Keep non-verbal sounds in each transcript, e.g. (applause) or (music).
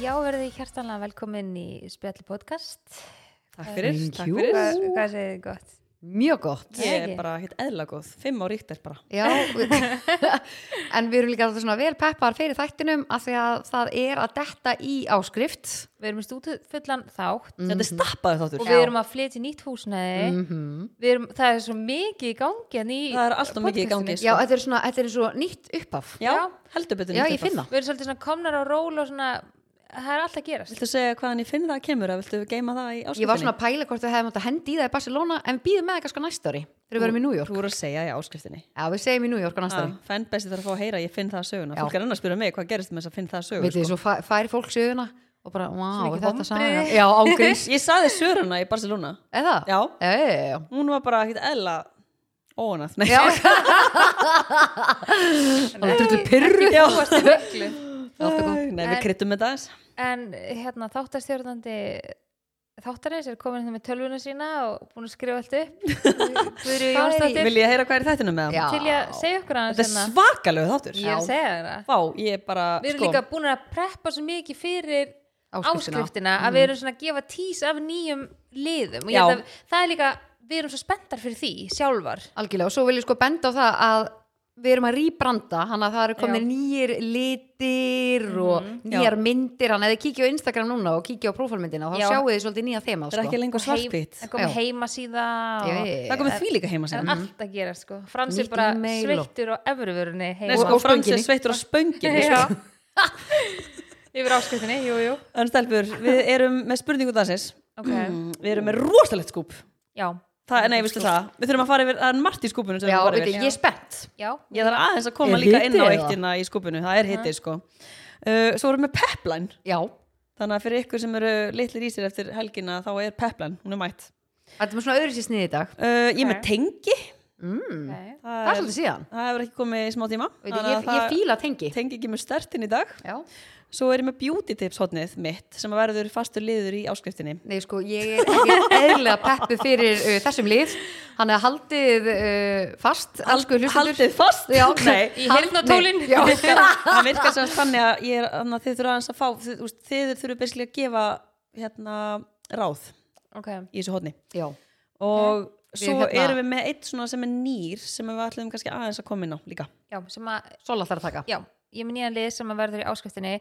Já, verðið hjartanlega velkomin í spjalli podcast. Takk fyrir, Thank takk you. fyrir. Hvað, hvað segir þið gott? Mjög gott. Ég er Ekki. bara hitt eðla góð, fimm á ríktir bara. Já, við- (laughs) en við erum líka alltaf svona vel peppar fyrir þættinum af því að það er að detta í áskrift. Við erum í stútu fullan þátt Þetta er Mhm. stappaði þáttur. og við erum að flytja í nýtt húsnæði. Við erum, það er svo mikið í gangi en í... Mhm. Það er alltaf mikið í gangi. sko. Já, þetta er, svona, þetta er eins og nýtt upphaf. Já, heldur betur. nýtt Já, ég upphaf. finn það. Við erum svolítið svona komnar á ról og svona, það er alltaf að gerast. Viltu segja hvaðan ég finn það kemur eða viltu geima það í áskiptinni? Ég var svona að pæla hvort við hefum átt að hendi í það í Barcelona en við býðum með það kannski á næsta ári þegar við verum í New York. Ah. Þú voru að segja í áskriftinni. Já, við segjum í New York á næsta ári. Fanbesti þarf að fá að heyra, ég finn það söguna. Fólk er annars að spyrja mig hvað gerist með þess að finn það sko? söguna. Vitið þið, svo fæ- fær fólk söguna og bara, wow, Svo er mikið þetta saga. vonbrigði. Já, (laughs) ángriðs. Ég saði söguna í Barcelona. Eða? Já, Já, já, já, já. (laughs) hún var bara hitt eðla óanað. Nei, (laughs) Já. Það er drullu pyrru. Já. miklu. Nei, við En- kryttum með það. En hérna, þáttastjórnandi þáttarins er komin hérna með tölvuna sína og búin að skrifa allt (laughs) upp. Guðrjú Hvað er í- Jónsdóttir, Vil ég heyra hvað er í þættinu með Já. Hérna. það? til ég að segja okkur aðeins hérna? Þetta er svakalegu þáttur. Ég er að segja þér það. Vá, ég er bara, sko, Við erum líka búin að preppa svo mikið fyrir Áskriftina. áskriftina að við erum svona að gefa tís af nýjum liðum og ég Mm. Já. held að það er líka, við erum svo spenntar fyrir því sjálfar. Algjörlega og svo vil ég sko benda á það að við erum að rýbranda, hann að það eru komin Já. nýjir litir Mhm, og nýjar myndir, hann að þið kíkja á Instagram núna og kíkja á prófálmyndina og þá Já. sjáu þið svolítið nýja þema Það er sko. ekki lengur svartbít. Það komið Já. heimasíða Já, og já, já. Það komið því líka heima það er sem. allt að gera sko. Frans er Nýtt bara e-mail og- sveittur og efurvörunni Nei, heima. sko, og Frans er spönginni. sveittur á (laughs) sko. spönginni. Já. (laughs) Yfir áskriftinni, jú, jú. En stelpur, við erum með spurningu dansins. Ok, Við erum með rosalegt skúp. já, Það, nei, veistu það, við þurfum að fara yfir, það er margt í skúpinu sem Já, við þurfum að veitu, fara yfir. ég er spennt já. Ég þarf aðeins að koma Er líka inn á hiti eða? eittina í skúpinu, það er hitið sko. Uh, svo erum við með pepline, Já, þannig að fyrir ykkur sem eru litlir í sér eftir helgina þá er pepline, hún er mætt. þetta er svona öðru sér sniði í dag Uh, ég er með tengi, mm. Okay. það, Það er svolítið síðan það hefur ekki komið í smá tíma. Veitu, þannig að ég, ég það- fíla tengi tengi ekki með stertin í dag. Já. Svo er ég með beauty tips hotnið mitt sem að verður fastur liður í áskriftinni. Nei, sko, ég er ekki eðlilega peppu fyrir uh, þessum lið Hann er haldið uh, fast Elsku hlustendur Haldið fast? Já, (laughs) Nei. Í heyrnartólin? Nei, já. Það virkar sem sagt þannig að ég er, þannig að þið þurfa aðeins að fá, þið, úst, þið þurfa byrskilega að gefa hérna, ráð Ok, í þessu hotni. Já, Og Við svo hérna- erum við með eitt svona sem er nýr sem við ætlum kannski aðeins að koma inn á líka. já, sem að Sola þarf að taka já, ég er með nýjan lið sem að verður í áskriftinni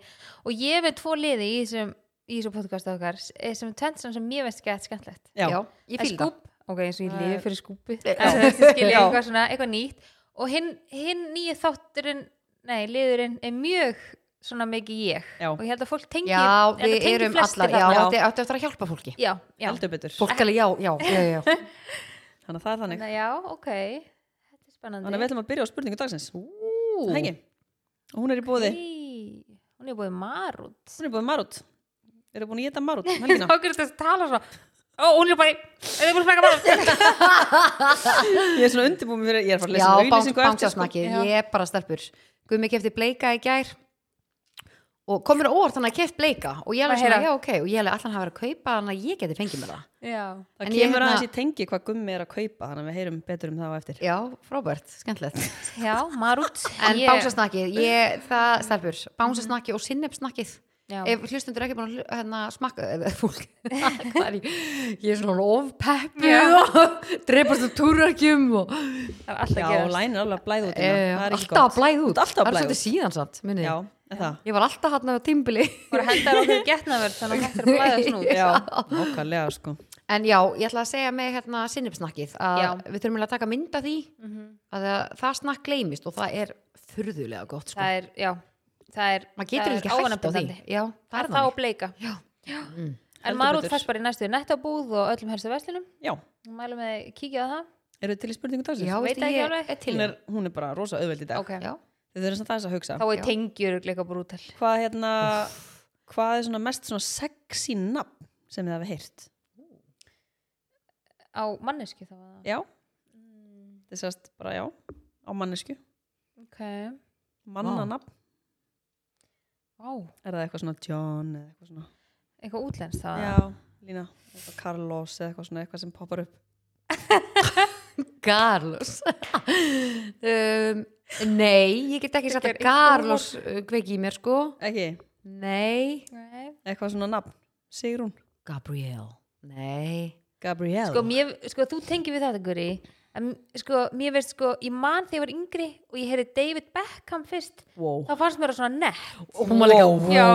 og ég er með tvo liði í þessum, í þessum podcastu okkar eh, sem tvennt sem sem ég veist ekki að skemmtlegt Já, ég En fíla það skúbb, ok, eins og ég lifi fyrir skúbbi Já. Eh, skilja Já. eitthvað svona, eitthvað nýtt og hinn, hinn nýja þátturinn nei, liðurinn er mjög svona mikið ég Já. og ég held að fólk tengi Já, þetta við tengi erum flestir allar, já, þarna. þetta áttu eftir að hjálpa fólki já, já, Heldur betur. Fólk alveg, já, já, já, (laughs) já, já. Þannig að það er þannig. Þannig að já, ok þetta er spennandi Þannig að við ætlum að byrja á spurningu dagsins. Ú, Hengi. Og hún er í bóði, Hey, hún er búið marút hún er í bóði marút. Eru búin að geta marút? um helgina? (laughs) þá gerir þetta að tala svona ó, hún er bara, er þið búin að smaka marút Ég er svona undirbúin fyrir, ég er að fara að lesa Já, um bank, auglýsingu eftir, sko. bankasmakið, Já. ég er bara stelpur Guðmi kefti bleika í gær og komur á orð þannig að keft bleika og ég er alveg Maður svona, heyra. já, ok og ég er alveg allan að vera að kaupa þannig að ég geti fengið mér það (laughs) já Það En ég kemur hérna- aðeins í tengi hvað gummi er að kaupa þannig að við heyrum betur um það á eftir. Já, frábært, skemmtilegt Já, marút En bánsasnakkið, ég, það, stelpur Bánsasnakkið og sinnefsnakkið Já. Ef hlustundur ekki búin að hlu- hérna, smakka eða (laughs) fólk, hvað er ég ég er svona ofpeppu og (laughs) dreipast um túrarkjum og Það er alltaf Já, að gerast læn er alveg að blæða út. Já, hérna. já, það er ekki Eh, alltaf að gott. blæða Þú út ert alltaf að Það er blæða svolítið síðan samt, minni Já, er það. Ég var alltaf hann á tímbili Bara hendar á því getnaverð þannig að hægt er að blæða snú Já, okkarlega sko. (laughs) En já, ég ætla að segja með hérna sinnipsnakkið að Já. við þurfum eiginlega að taka mynd af því að það- það snakk gleymist og það er furðulega gott sko. Það er, já Það er, maður getur það er ekki hægt á því ávanabindandi. Já, það Það er er þá það að bleika Já. Mm. En Heldur marút betur. fæst bara í næstu nettabúð og öllum helstu veslinum Já, Mælum við að kíkja á það eru þið til í spurningu dagsins? Já, Veit veistu, ekki ég alveg. er til Hún í- er, hún er bara rosa auðveld í dag. Ok, Já. Þið þurfum samt aðeins að hugsa. þá er Já. tengjur líka brútal Hvað, hérna, hvað er svona mest svona sexy nafn sem þið hafa heyrt? Á manneski þá var það Já, þið sérst bara já, á mannesku. Ok, Mannanafn, vá, er það eitthvað svona John eða eitthvað svona? eitthvað útlens Ah. það Já, Lína, eitthvað Carlos eða eitthvað svona eitthvað sem poppar upp. Garlos um, Nei, ég get ekki sagt Þetta er að Garlos uh, kveiki í mér sko Ekki? Nei, Nei, eitthvað svona nafn, Sigrún Gabrielle Nei Gabrielle sko, mér, sko þú tengir við þetta Guri en sko, mér veist sko, ég man þegar ég var yngri og ég heyrði David Beckham fyrst Wow þá fannst mér það svona nett Hún var líka Wow. Já.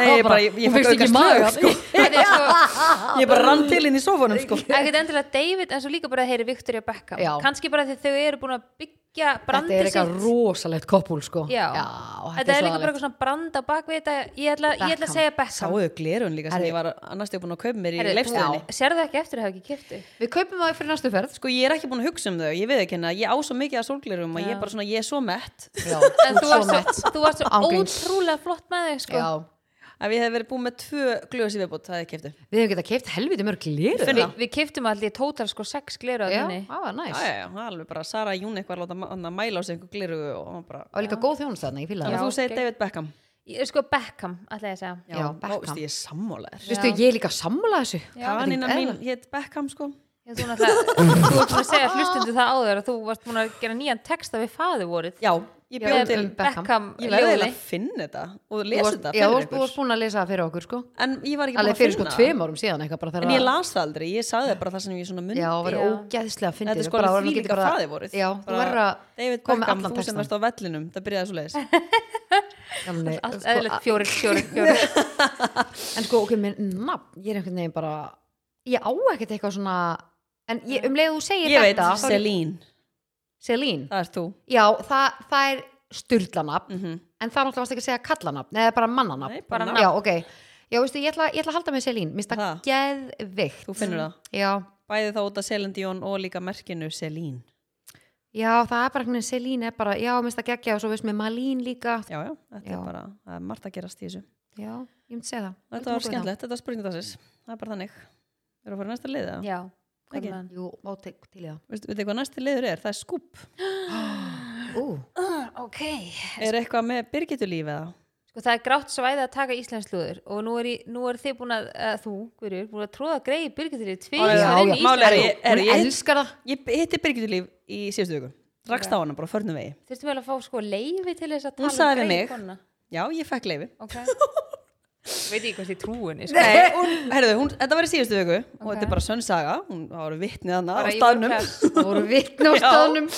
Nei, ég bara, ég, ég Hún finnst fekk ekki aukast maður lög, sko. Þetta er svo, (laughs) Ég bara rann til inn í sofunum, sko ekkert endilega David en svo líka bara að heyri Victoria Beckham Já. kannski bara því þau eru búin að byggja Þetta brandið er eitthvað sitt. rosalegt koppul sko Já. þetta, þetta er svo líka bara eitthvað svona brand á bakvið þetta ég ætla, ég ætla Beckham. að segja Beckham Sáuðu glerun líka sem Herri. ég var annars þegar búin að kaupa mér í Heyrðu, leifstöðinni þú- sérðu ekki eftir að hafa ekki kiftu alveg. Við kaupum það fyrir næstu ferð Sko, ég er ekki búin að hugsa um þau, ég veið ekki hérna Ég á svo mikið að sólglerum að ég bara svona, ég er svo mett Já, en þú varst sko. svo, þú varst svo Ángríns. ótrúlega flott með þig sko. Já, Ef ég hef verið búin með tvö glöðs í viðbútt, það er keftu við hefum getað keift helviti mörg glir Vi, við kiftum allir tótal sko sex gleru að Já, henni það var næs Já, já, já, það er alveg bara Sara Júnik var að láta ma- hana mæla á sig einhver gliru og hann bara Það var líka góð þjónust þarna, ég fíla Þannig Já, að þú segir ok. David Beckham Ég- sko Beckham, ætla ég að segja Já, Beckham. Vá, veistu, ég er sammálaðir það Vistu, ég er líka sammála þessu Kanina mín hétt Beckham, sko Ég, þú, náttúrulega- þú varst búin að segja hlustundu það áður að þú varst búin að gera nýjan texta við faði vorið Já, ég Já, bjóð til um Beckham. Beckham Ég verði ljóði. eiginlega að finna þetta og Þú lesa varst- þetta Já, fyrir þú varst ykkur búin að lesa það fyrir okkur sko En ég var ekki búin Alveg að fyrir sko finna það. tveim árum síðan eitthvað bara En þegar ég að- las það aldrei, ég sagði bara það sem ég svona mundi Já, það var Já. ógæðislega fyndið Þetta er sko Bara alveg að því hann geti líka bara- faði vorið Já, þú Bara, verður að David koma með Beckham, allan þú sem textann. verðst á vellinum, það byrjaði svo leiðis Gamli, allt sko, eðlilegt fjórir, fjórir, fjórir En sko, ok, minn nafn, ég er einhvern veginn bara Ég á ekkert eitthvað svona En (laughs) ég, um leið og þú segir Ég veit, þetta þá er ég- Selín, Selín það er þú Já, það, það er styrlanafn Mhm. En það er náttúrulega varst ekki að segja kallanafn Nei, það er bara mannanafn Nei, bara Já, ok Já, veistu, ég ætla, ég ætla að halda með Selín Mér finnst það Það. geðvikt Þú finnur það Já, Bæði þá út af Selindjón og líka merkinu Selín já, það er bara einhvern veginn Selín er bara, já, mér finnst það geggja og svo veist með Malín líka Já, já, þetta Já. er bara, það er margt að gerast í þessu Já, ég myndi segja það Þetta var skemmtilegt, þetta var spurningdagsins Það er bara þannig Við erum að fara í næsta lið eða? já, hvað Ekki. með hann? Jú, má tek til í það Veistu veitu hvað næsti liður er? Það er skúp Ú, Ah, ok Er eitthvað með Birgitulíf eða? sko það er grátt svæði að taka íslensk lúður og nú er, í, nú er þið búin að, að þú, Guður, búin að tróða greið byrgjutur í tvísar Já, inn í já, málið er Ísland ég- hún ég- elskar það Ég hitti Birgitulíf í síðustu viku Rakst á hana bara á förnum vegi þurftum vel að fá sko leifi til þess að Hún tala sagði við mig. kona Já, ég fekk leifi (laughs) ok veit ég hvort ég trúin sko. Nei, hún, herðu, hún, þetta var í síðustu viku og Ok. þetta er bara sönnsaga, hún það var vitnið hana á Bara í staðnum press. Þú voru vitni á Já. staðnum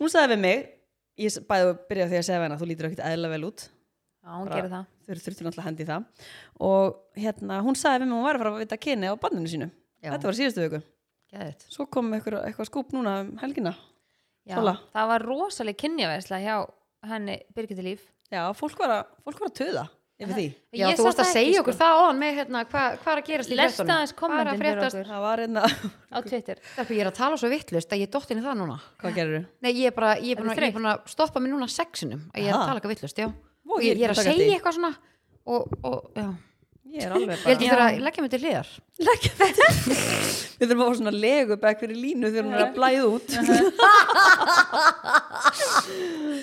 Hún sagði við mig, ég s- bæði að byrja á því að segja við hana, þú lítur ekkert eðla vel út já, hún Bara- gerir það þau eru þurftur náttúrulega hendi í það og hérna, hún sagði við mig að hún var að fara að vita kyni á banninu sínu Já. þetta var í síðustu viku, Geðveikt. svo kom eitthvað, eitthvað skúp núna um helgina Já, Sola. það var rosaleg kynjaversla hjá henni Birgitur Líf já, fólk var að, fólk var að töða yfir því Já, þú varst að segja okkur það áðan með hérna, hvað hva er að gerast í Lest fréttunum? aðeins kommentin Hvað er fyrir að fréttast? okkur það var hérna- einna, á Twitter Stelpur, Ég er að tala svo vittlust að ég er dottin í það núna hvað gerir þú? Nei, ég er bara, ég er Ertu búin að, ég er búin að stoppa mig núna sexinum að ég er Aha. að tala eitthvað vittlust, já Vó, Og ég, ég er að taka segja eftir því. eitthvað svona og, og já ég er alveg bara Ég held ég þurfa að leggja mig til hliðar við þurfum að fá svona legubæk fyrir línu þegar hún er að blæða út (laughs)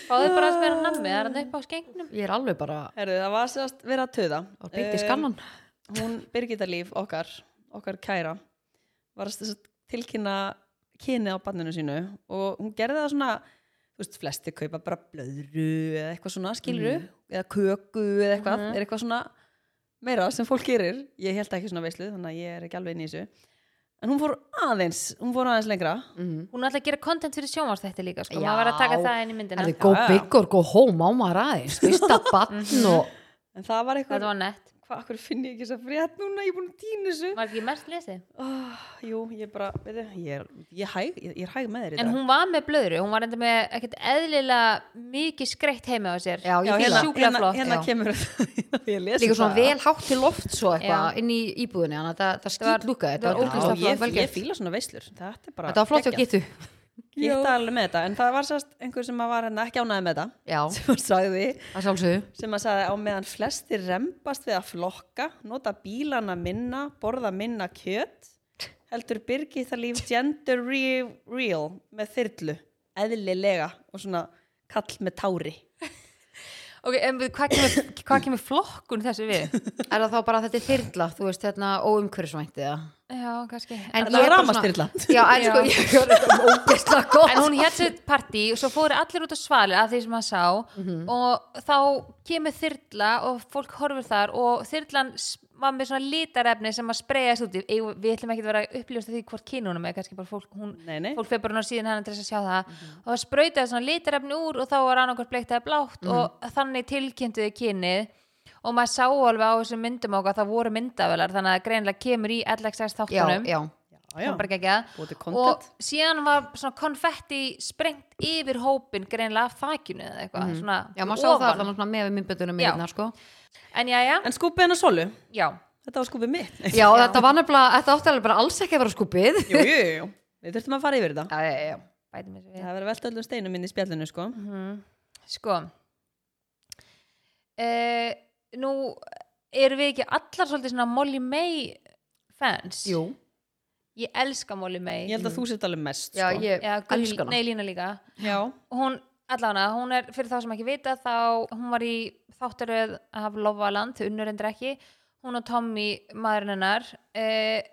Fáðu bara að spyrja nammi, það er hann upp á skengnum Ég er alveg bara Heru, það var sérst verið að töða á beint í Eh, skannan hún Birgitta Líf, okkar, okkar kæra var að sem sagt tilkynna kyni á banninu sínu og hún gerði það svona þú veist, flesti kaupa bara blöðru eða eitthvað svona, skiluru, Mhm. eða köku eða eitthvað, er eitthvað svona meira sem fólk gerir, ég held ekki svona veislu þannig að ég er ekki alveg inn í þessu en hún fór aðeins, hún fór aðeins lengra Mhm. Hún ætla að gera content fyrir sjónvarstætti líka sko. Já. maður var að taka það inn í myndina Það er go Já, já. big or go home á maður aðeins Vista batn og en það var eitthvað, Þetta var nett, hvað, akkur finn ég ekki þess að frétt núna, ég er búin að týna þessu var ekki mest lesið oh, jú, ég bara, veit þið, ég er ég, er hæg, ég, ég er hæg með þér í En dag. hún var með blöðru, hún var enda með ekkert eðlilega mikið skreitt heima á sér Já, ég Já, fíla hérna, sjúklega hérna, flott, hérna já. kemur (laughs) ég lesi Líka það. svona vel hátt til loft svo eitthvað inn í íbúðinni Þannig að það- það var- skýt lúka það var Já, ógeðslega Þetta ég, var ég gert. fíla svona veislur þetta er bara Þetta var flott hjá geggjað. getu ég hitta alveg með þetta en það var sérst einhver sem að var hérna ekki ánæði með þetta Já, sem að sagði (laughs) það sjálfsögðu sem að sagði á meðan flestir rembast við að flokka nota bílana minna borða minna kjöt heldur byrgi það líf gender re real með þyrlu eðlilega og svona kall með tári ok, en við- hvað kemur, hvað kemur flokkun þessu við? Er það þá bara að þetta er þyrla, þú veist, hérna óumhverfisvænt eða? (laughs) Já, kannski En Það ég er var bara ramastyrla Já, en sko, Já. ég er þetta ógeðslega gott. En hún hétt sér partí og svo fóru allir út á svali að því sem hann sá og þá kemur þyrla og fólk horfur þar og þyrlan s- var með svona litarefni sem að spreyjast út í Eigum- við ætlum ekki að vera að uppljósta því hvort kynunum er kannski bara fólk, hún, Nei, nei, fólk fer bara inn á síðan hennar til þess að sjá það og það sprautaði svona litarefni úr og þá var annarkvært bleikt eða blátt Mhm. og þannig tilkynntuði kynið og maður sá alveg á þessum myndum okkar það voru myndavelar þannig að það greinilega kemur í LXS Já, þáttunum já. já, já, bara geggjað bútið og content síðan var svona konfetti sprengt yfir hópin greinlega af þakjunu eða eitthvað svona Mhm. Já, maður sá ofan. það allan svona með við myndböndunum Já. (laughs) minna, sko. en já, já, En skúpið hennar solu, já þetta var skúpið mitt Jú, Já, þetta var nefnilega, þetta átti alveg bara alls ekki að vera skúpið. jú, jú, jú, við þurftum að fara yfir þetta Já, já, já. bætum þessu við Það verður velt öllum steinum inn í spjallinu, sko Mhm. sko uh, nú erum við ekki allar svolítið svona Molly May fans Jú. ég elska Molly May Ég held að þú sett alveg mest, Já, sko ég já, elska hana. neilína líka Já, hún, allavega, hún er fyrir þá sem ekki vita þá, hún var í þáttaröð af Lofaland, unnur endur ekki hún og Tommy, maðurinn hennar uh,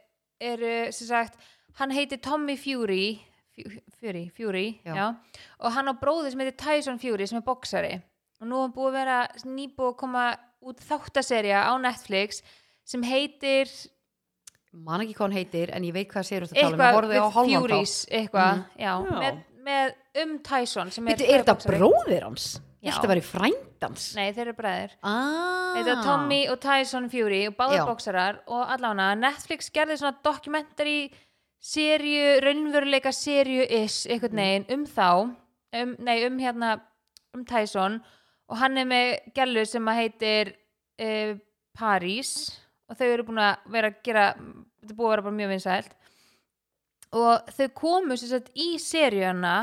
eru, sem sagt hann heiti Tommy Fury Fu- Fury, Fury, já. Já. og hann á bróði sem heiti Tyson Fury sem er boksari og nú er hann búið að vera nýbúið að koma út þáttaserja á Netflix sem heitir Man ekki hvað hann heitir, en ég veit hvað það séur út að tala um. Ég eitthvað horfði á with hálfan þá. Furies eitthvað, já, Já. Með, með um Tyson sem Veitu, er þetta boxari. bróðir hans? Já. Ég ætti að vera í frændans. Nei, þeir eru bræðir Ah. Þetta er Tommy og Tyson Fury og báðar Já. bóksarar og allána Netflix gerði svona dokumentari serju, raunveruleika serju is, Mm. einhvern veginn, um þá um, nei, um hérna um Tyson og hann er með gælu sem að heitir uh, París og þau eru búin að vera að gera þetta er búið að vera bara mjög vinsælt og þau komu sem sagt í seríuna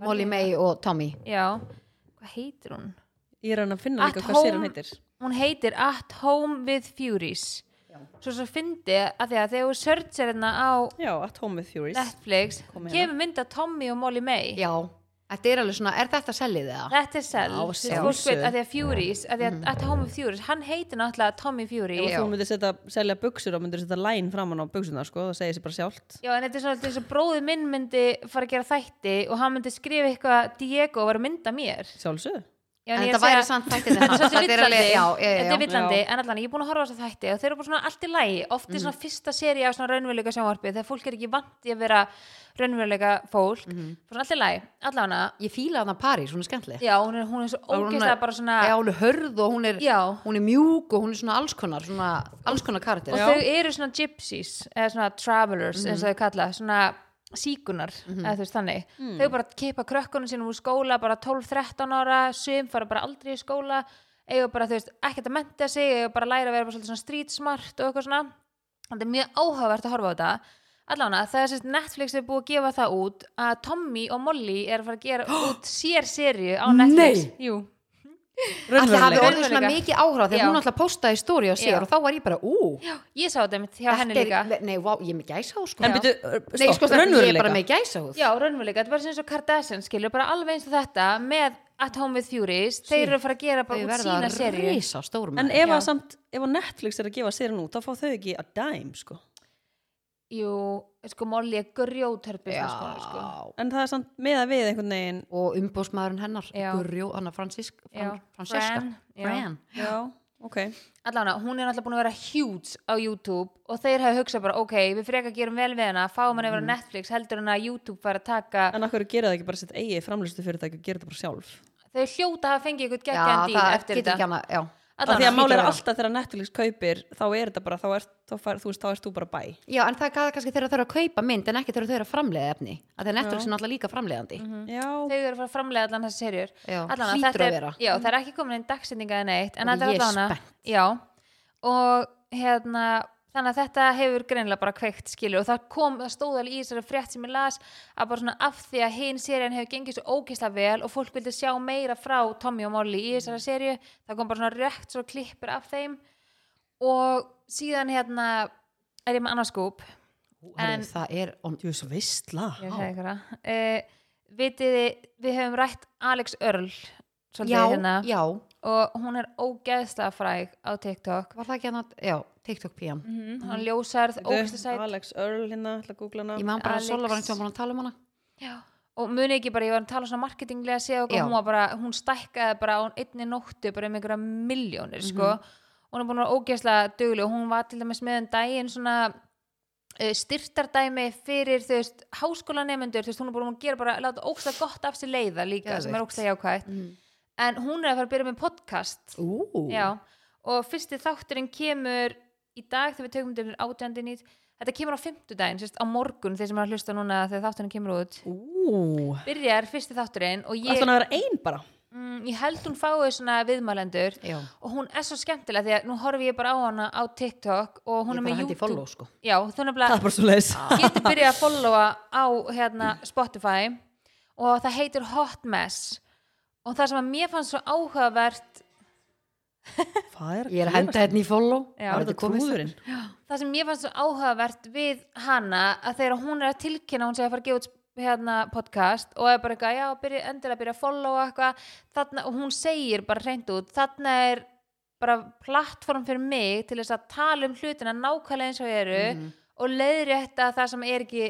Molly May og Tommy. Já, hvað heitir hún? ég er hann að finna At líka hvað sér home- hann heitir hún heitir At Home with Furies svo svo fyndi að því að þegar þú searchar hérna á Já, At Home with Furies Netflix Kom hérna. kemur mynd af Tommy og Molly May Já. Þetta er alveg svona, er þetta sellið eða? þetta er sel Já, Mhm. Þú veist, sjálfsögðu. fólk veit að því að Furies að því að At Home with Furies hann heitir náttúrulega Tommy Fury Ef já. þú myndir setja, selja buksur og myndir setja læn framan á buksuna, sko, það segir sér bara sjálft en þetta er svona alltaf eins og bróði minn myndi fara að gera þætti og hann myndi skrifa eitthvað Diego og vera að mynda mér Sjálfsögðu já, En ég þetta segja- væri samt (laughs) þættir Þetta (laughs) er svolítið villandi, Já, já, þetta er já. villandi Já. en allan ég er búin að horfa á þess að þætti og þeir eru bara svona allt í lægi oft er svona fyrsta séri á svona raunveruleika sjónvarpi þegar fólk er ekki vant í að vera raunveruleika fólk Mhm. svona allt í lægi, allan Ég fíla hana París, hún er skemmtileg. já, hún er, hún er svo Og hún er- ógeðslega bara svona Já, hún er hörð og hún er, já, hún er mjúk og hún er svona alls konar, svona alls konar karakter. og Já. þau eru svona gypsies eða svona travelers eins og þau kalla svona síkunar, eða þú veist þannig þau bara kipa krökkunum sínum úr skóla bara 12-13 ára, sum fara bara aldrei í skóla, eiga bara þú veist ekkert að menta sig, eiga bara að læra að vera bara svolítið svona street smart og eitthvað svona þetta er mjög áhugavert að horfa á þetta allána, það er sérst Netflix er búið að gefa það út að Tommy og Molly er að fara að gera út sér serju á Netflix Nei! Jú. Alltaf hafi Raunveruleika. orðið svona Raunveruleika. mikið áhrá Já. þegar hún alltaf postaði stóri á Já. sér og þá var ég bara, ú, ég sá þetta mitt hjá henni þetta líka er, nei, vá, ég er með gæsa sko. En byrju, Nei, stopp, sko, þetta er ég er bara raunveruleika með gæsa húð. Já, raunveruleika, þetta er bara eins og Kardashian skilur, bara alveg eins og þetta með At Home with Furies, þeir eru að fara að gera Þau bara út verða sína serju risa stórum. En ef að Já. samt, ef að Netflix er að gefa sér út, þá fá þau ekki að dæm, sko. Jú, sko Molly er grjótörpi Já. sko. En það er samt með að við einhvern veginn, Og umbóðsmaðurinn hennar, Já. Gurjó, hann að Francisca, Já. Francesca. Fran, já. Fran. já, ok. Allána, hún er náttúrulega búin að vera huge á YouTube og þeir hafa hugsað bara, ok, við frekar gerum vel við hana fáum hann Mm. yfir á Netflix, heldur hann að YouTube fara að taka, En af hverju gera það ekki bara sitt eigið framlustu fyrirtæki og gera það bara sjálf? þau hljóta að fengi eitthvað Já, geggjandi díl það eftir getur ekki þetta hana, já. Af því Allána, að málið er vera. alltaf þegar Netflix kaupir, þá er þetta bara, þá er, þá far, þú veist, þá ert þú bara bæ. Já, en það er kannski þegar þau eru að kaupa mynd en ekki þegar þau eru að framleiða efni. Af því að Netflix er náttúrulega líka framleiðandi. Mhm. Já, þau eru að fara að framlega allan þessi serjur Já, allan að hlýtur þetta að er, vera. já, það er ekki komin einn dagsendinga eða neitt en Og þetta er ég er allan að, já og hérna, þannig að þetta hefur greinilega bara kveikt skilur og það kom, það stóð alveg í þessari frétt sem ég las að bara svona af því að hinn serían hefur gengið svo ógeðslega vel og fólk vildi sjá meira frá Tommy og Molly í þessari serju það kom bara svona rekt svo klippur af þeim og síðan hérna er ég með annarskúp Ú, herri, En- það er on... þú veist, veistla. Ég sagði ykkur það. Eh, Uh, vitið þið, við höfum rætt Alex Earl svolítið Já, hérna. já, og hún er ógeðslega fræg á TikTok Var það ekki hann að, já, TikTok pían mm -hmm. hann ljósærð, ógistasæt Alex Earl hérna, ætla að googla hana Ég man bara að Alex. Sola var einhvern tímann að tala um hana Já, og muni ekki bara, ég var að tala svona marketinglega séð og Já. hún var bara, hún stækkaði bara á einni nóttu bara um einhverja miljónir sko, Mhm. hún er búin að vera ógeðslega duglu og hún var til dæmis með um daginn svona eh, styrtardæmi fyrir þú veist, háskólanemendur þú veist, hún er búin að gera bara, láta ógsta gott af sér leiða líka, sem er Geðveikt. ógsta jákvætt en hún er að fara að byrja með podcast Ú, Já, og fyrsti þátturinn kemur í dag þegar við tökum til átjandi nýtt þetta kemur á fimmtudaginn, sérst á morgun þeir sem er að hlusta núna þegar þátturinn kemur út Ú, byrjar fyrsti þátturinn og ætla ég, hann að vera ein bara mm, ég held hún fái svona viðmælendur já. og hún er svo skemmtilega því að nú horfi ég bara á hana á TikTok og Ég hún er bara með hendi í YouTube follow sko Já, þú Það nefnilega er bara svo leiðis (laughs) getur byrjað að followa (laughs) á hérna, Spotify og það heitir Hot Mess og það sem að mér fannst svo áhugavert Ég er að henda hérna í follow Já. Var Var þetta þetta komið? trúðurinn? það sem mér fannst svo áhugavert við hana að þegar hún er að tilkynna hún sé að fara að gefa út hérna podcast og er bara eitthvað, já, byrja, endilega byrja að followa eitthvað, þarna, og hún segir bara reynd út, þarna er bara plattform fyrir mig til þess að tala um hlutina nákvæmlega eins og ég eru Mhm. og leiðrétta það sem er ekki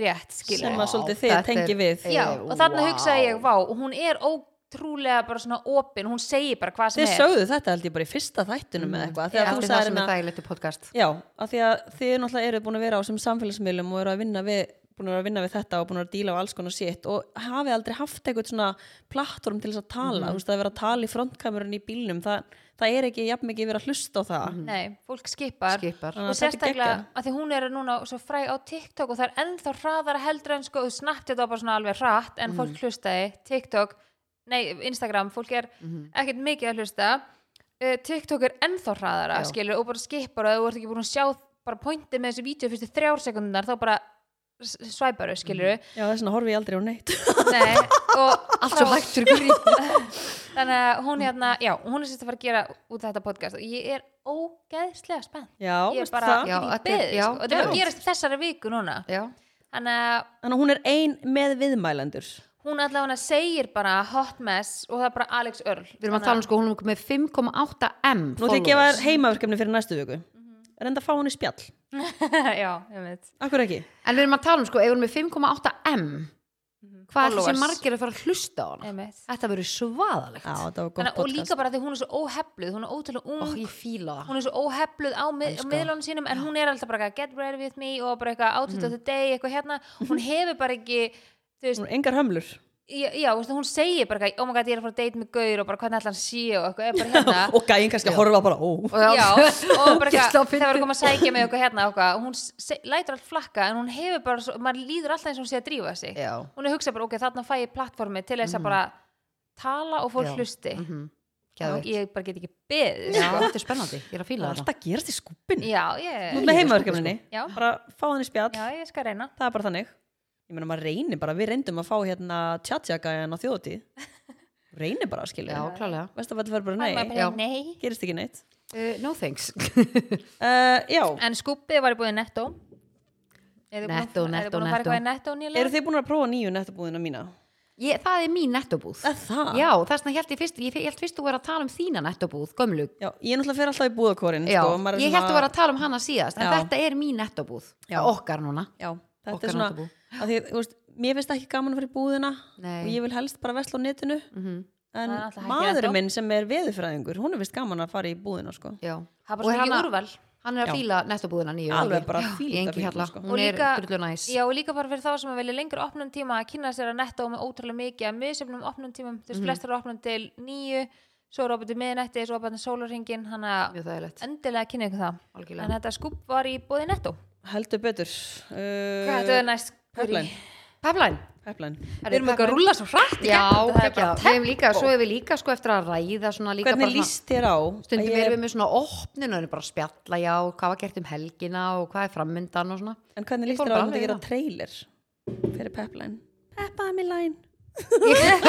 rétt skilur Sem að svolítið Vá, þið þetta er- tengi við já, Eh, og þarna vá. hugsaði ég, vá, hún er ótrúlega bara svona opin, hún segir bara hvað sem Þið er sögðu þetta held ég bara í fyrsta þættinum eða eitthvað Þetta Þegar þú er Mm. það sagði sem er hérna þægilegt í podcast Já, af því að þið náttúrulega eru búin að vera á sem samfélagsmiðlum og eru að vinna við búin að vera að vinna við þetta og búin að vera að díla á alls konar sitt og hafið aldrei haft eitthvað svona plattform til þess að tala, þú veist að vera að tala í frontkamerun í bílnum, það, það er ekki jafn mikið verið að hlusta á það Nei, fólk skipar, Mm. Skipar. og Þannig að þetta er sérstaklega geggjað. að því hún er núna svo fræg á TikTok og það er ennþá hraðara heldur en sko snabbt þetta var bara svona alveg hratt en Mm. fólk hlustaði TikTok, nei Instagram fólk er Mhm. ekkert mikið að hlusta uh, TikTok er ennþá hraðara Já. skilur og bara skipar og þú ert ekki búin að sjá bara pointið með þessu vídeo fyrstu þrjár sekundar þá bara s- svæparu skilur Já, þess vegna horfi ég aldrei á neitt (laughs) nei, og Mm. (laughs) Allt svo frá- hægt fyrir grín (laughs) þannig að hún hérna, já, hún er sérst að fara að gera út þetta podcast og ég er ógeðslega spennt Já, ég er veistu bara það? Já, í þetta er- beð já, sko. og þetta var að geðveikt. gerast þessari viku núna Já, þannig að Þannig að hún er ein með viðmælendur hún allavega segir bara hot mess og það er bara Alex Earl við erum að tala um sko, hún er með 5,8M Nú ætlum ég að gefa þér heimaverkefni fyrir næstu viku Reynda að fá hún í spjall, um- tala (laughs) já, ég veit akkur ekki En við erum að tala um sko, ef hún er með 5,8M Mhm. Hvað er það Followers. sem margir að fara að hlusta á hana? Einmitt. Þetta verður svaðalegt Já, þetta var gott Þannig, og podcast líka bara því hún er svo óhefluð hún er ótrúlega ung, Ó, Ég fíla það hún er svo óhefluð á mið- á Elska. miðlunum sínum en hún er alltaf bara eitthvað, get ready with me og bara eitthvað outfit Mm. of the day, eitthvað hérna hún hefur bara ekki þú veist, Hún er engar hömlur já, já, þú veist, hún segir bara eitthvað, oh my god, ég er að fara að date með gaur og bara hvernig ætla hann sé og eitthvað, (laughs) er bara hérna Og gæinn kannski að horfa bara, ó já, og bara Ógeðslega eitthvað, fyndið. það var að koma að sækja mig okkur hérna og eitthvað, og hún se- lætur allt flakka en hún hefur bara, svo, maður líður alltaf eins og hún sé að drífa sig Já, Mhm. hún er hugsað bara, ok, þarna fæ ég plattformi til þess að bara tala og fólk Já. hlusti mm og mhm, geðveikt. ég bara get ekki beðið Já, sko. þetta er spennandi, ég er að fíla Alltaf gerast í skúpin já, Nú ég, með heimaverkefninni já, Bara fá hann í spjall já, ég skal reyna það er bara þannig ég meina maður reynir bara, við reyndum að fá hérna tjatjakaðan á þjóðutíð reynir bara að Já, skilja, klálega veist að þetta verður bara Maður nei bara, Já. nei. gerist ekki neitt Uh, (laughs) no thanks uh, já, en skúpið var í búið netto Eru þið búin að- Netto, eru þið búin Netto, að fara Netto. eitthvað í netto nýlega? eru þið búin að prófa nýju nettobúðina mína? ég, Það er mín nettobúð Er það? Já, þess vegna held ég fyrst Ég held fyrst þú verið að tala um þína nettobúð, gömlu já, ég náttúrulega fer alltaf í búðakorin Já, sko, maður er ég held þú verið að tala um hana síðast En Já. þetta er mín nettobúð, Já. það er okkar núna já, þetta Okkar er svona nettóbúð. að því, þú veist, mér finnst ekki gaman að fara í búðina Nei. og ég vil helst bara vesla á netinu Mhm. en Það er alltaf hægt í maðurinn ennþá. minn sem er veðurfræðingur hún er vist gaman að fara í búðina sko. Já, Það er bara Og svo mikið hana- úrval Hann er Já. að fíla nettobúðina nýju Alveg bara fíla fíla þetta fíla, þetta sko. Og hérna. Hún er líka- drullu næs Já, og líka bara fyrir þá sem að vilja lengur opnum tíma að kynna sér að netta og með ótrúlega mikið að miðsefnum opnum tímum, þess mm Mhm. -hmm. flestar opnum til nýju, svo er opnum til miðnætti svo opnum til sólarringin, hann að Mjög þægilegt, endilega kynna ykkur það algjörlega en þetta skúb var í bóði netto heldur betur Hvað þetta uh, er næst? Pepline, Pepline pepline. Við erum eitthvað að rúlla svo hrætt Já, það er já, bara við hefum líka, svo hefur við líka sko eftir að ræða svona líka Hvernig bara svona- líst þér á? stundum Ég- erum við með svona opnun og erum bara að spjalla já, hvað var gert um helgina og hvað er framöndan og svona En hvernig líst fór þér á bara að myndi alveg gera í það. trailer fyrir Pepline? Peppaði mig læn Mér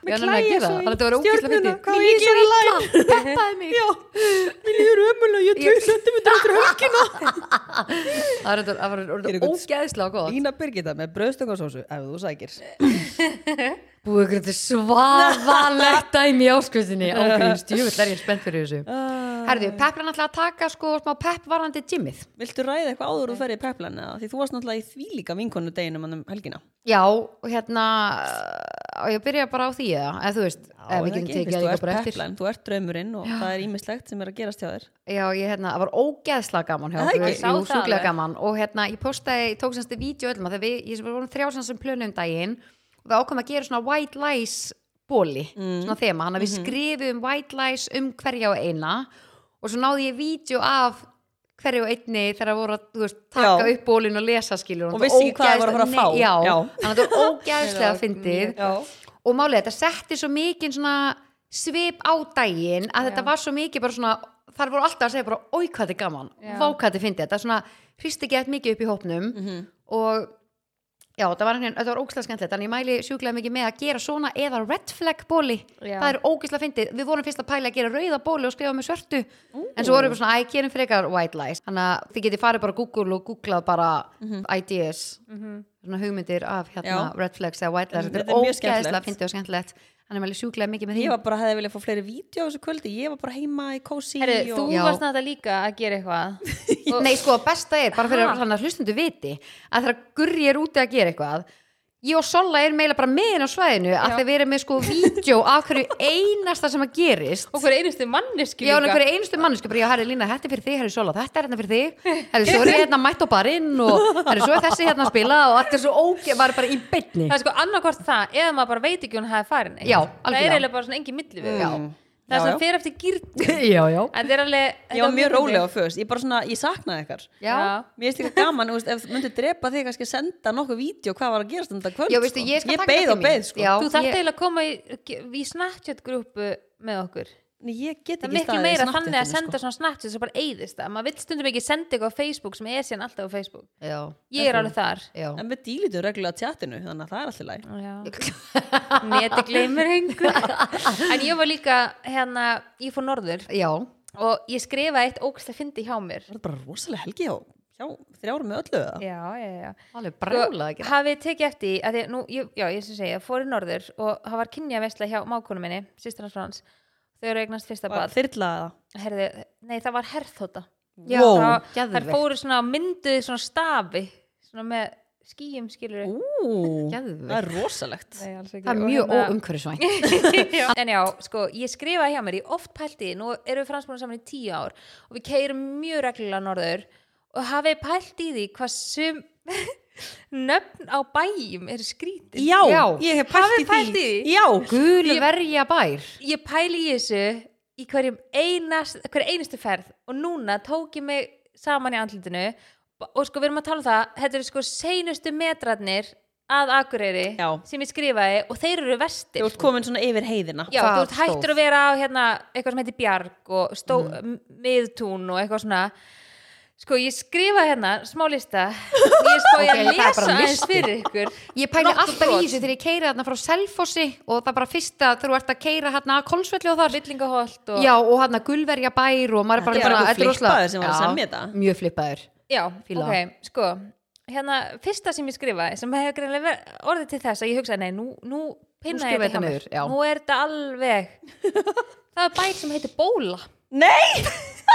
Mér klæja að klæjar svo gera það, í þannig að þetta var ógísla stjörnuna, fyndi hvað á ég að gera í (laughs) læn Peppaði mig Já, mér líður ömulega, ég er 2 cm eftir höfkina Það var- það var Ég er orðið einhvern- ógæðislega gott Ína Birgitta með bröðstökkarsósu, ef þú sækir búið ykkur þetta (laughs) svaðalegt dæmi í áskutinni ágrínst, jú, það er ég spennt fyrir þessu Herðu, Pep er náttúrulega að taka sko smá Pep varandi gymmið Viltu ræða eitthvað áður og ferði í preplan eða? Því þú varst náttúrulega í þvílíka vinkonu deginum um helgina. Já, og hérna á ég að byrja bara á því eða, eða þú veist ef við getum tekið að eitthvað ég bara eftir preplan, þú ert draumurinn og það er ímislegt sem er að gerast hjá þér. Já, ég hérna, það var ógeðslega gaman hjá Það okkur, ekki? Sá jú, það sjúklega alveg. gaman og hérna, ég postaði, ég tók semst vídeo öllum að þegar við, ég sem vorum þrjásans sem plönum um daginn og við ákvæmum að gera svona white lies bóli, Mm. svona þema hann að Mhm. við skrifum white lies um hverja og eina og svo náði ég vídeo af hverju og einni þegar voru að þú veist, taka Já. upp bólin og lesa skilur Og vissi ekki hvað þau voru að fara að fá. já, Já. (laughs) þannig að það var ógæðslega fyndið Já. og málið þetta setti svo mikið svona svip á daginn að þetta var svo mikið bara svona þar voru alltaf að segja bara oi hvað þetta er gaman Já. vá hvað þetta fyndi, þetta svona hristi gett mikið upp í hópnum Mm. Mhm. og já, þetta var, einhvern veginn- þetta var ógislega skemmtilegt en ég mæli sjúklega mikið með að gera svona eða red flag bóli, Já. það er ógislega fyndið við vorum fyrst að pæla að gera rauða bóli og skrifa með svörtu en svo vorum við svona, æ, gerum frekar white lies, þannig að þið getið farið bara á Google og googlað bara ideas svona hugmyndir af hérna Mhm. Já. red flags eða white lies, Þetta er þetta er mjög ógeðslega skemmtilegt. fyndið og skemmtilegt hann er mæli sjúklega mikið með því Ég var bara, hefði viljað fá fleiri vídeo þessu kvöldi, ég var bara heima í kósi Herri, og... þú Já. varst náttúrulega líka að gera eitthvað (laughs) og, Nei, sko, besta er, bara fyrir Ha? hann að hlustundu viti að þegar Gurri er úti að gera eitthvað ég og Sola er meila bara meðin á svæðinu að þeir verið með sko vídeo af hverju einasta sem að gerist og hver einustu manneski Já, en líka hverju einustu mannsku, bara ég herri Lína, þetta er fyrir þig, herri Sola, þetta er hérna fyrir þig herri, svo er ég hérna mætt á barinn og herri, svo er þessi hérna að spila og allt er svo ógeð, var bara í beinni það er sko annarkvort það eða maður bara veit ekki hún hafi farin neitt. Já, það algjörlega. er eiginlega bara svona engin milli við Já. það er Mm. Já, já. svona fyrir eftir gýrt Já, já en það er alveg Ég var mjög rólega á fyrst, ég bara svona, ég saknaði ykkar. Já, Mér finnst líka gaman, þú veist, ef þú myndir drepa þig kannski að senda nokkuð vídeo hvað var að gerast um þetta kvöld. Já, veistu, sko. ég skal taka beið þetta og til mín. beið, sko. Já. þú þarft ég- eiginlega að koma í, í Snapchat grúpu með okkur Nei, ég get það er ekki miklu staðið í meira Snapchatinu, þannig að senda sko. svona Snapchat sem bara eyðist það maður vill stundum ekki senda eitthvað á Facebook sem er síðan alltaf á Facebook já, ég er alveg þar já. En við dýlitum reglulega tjatinu, þannig að það er alltaf læg. neti (laughs) gleymur hengur en ég var líka hérna ég fór norður já. og ég skrifaði eitt ógst að fyndi hjá mér Það er bara rosalega helgi hjá, hjá þrjára með öllu eða? já, já, já alveg Sko, brjálað að gera hafið þið tekið eftir því að því, nú, ég, já, ég sem segja, fór í norður og það var kynjaveisla hjá mákonu minni, sýstur hans Frans þau eru eignast fyrsta Bara bad þyrla eða? Herði, nei, það var herþóta Já, Wow. það, geðveikt. þær fóru svona mynduð svona stafi svona með skýjum skilur Ú, Geðveikt. það er rosalegt. Það er (laughs) mjög óumhverfisvænt óumkvæmt hérna- en já, sko, ég skrifaði hjá mér ég oft pælti, nú erum við fransbúin saman í tíu ár og við keirum mjög reglulega norður og hafið pælt í því hvað sum (laughs) nöfn á bæjum eru skrítið Já, Já. ég hef pælt í Hafið því. pælt í því? Já, (laughs) Gulu Ég- verja bær ég pæli í þessu í hverjum einast, hver einustu ferð og núna tók ég mig saman í andlutinu og sko við erum að tala um það þetta eru sko seinustu metrarnir að Akureyri Já. sem ég skrifaði og þeir eru vestir þú ert komin svona yfir heiðina. Já, Hvað þú ert hættur stóð? að vera á hérna, eitthvað sem heitir Bjarg og stó, Mm. miðtún og eitthvað svona sko ég skrifa hérna smá lista (laughs) ég spá ég Ok, að það er bara lesa aðeins listi. fyrir ykkur Ég pæli Nokkur alltaf brot. í þessu þegar ég keira þarna frá Selfossi og það er bara fyrsta þegar þú ert að keira hérna að Kolsvelli og þar Villingaholt og Já og hérna gulverja bær og maður er bara Þetta er svona- bara þetta er einhver flippaður sem rosalega- var að Já, semja þetta. Mjög flippaður Já, Fíla. ok, sko hérna, fyrsta sem ég skrifaði sem hefur greinilega ver- orðið til þess að ég hugsaði nei, nú, nú pinna skrifaði ég þetta þetta hjá mér niður, já. nú er þetta (laughs) alveg það er bær sem heitir bóla Nei!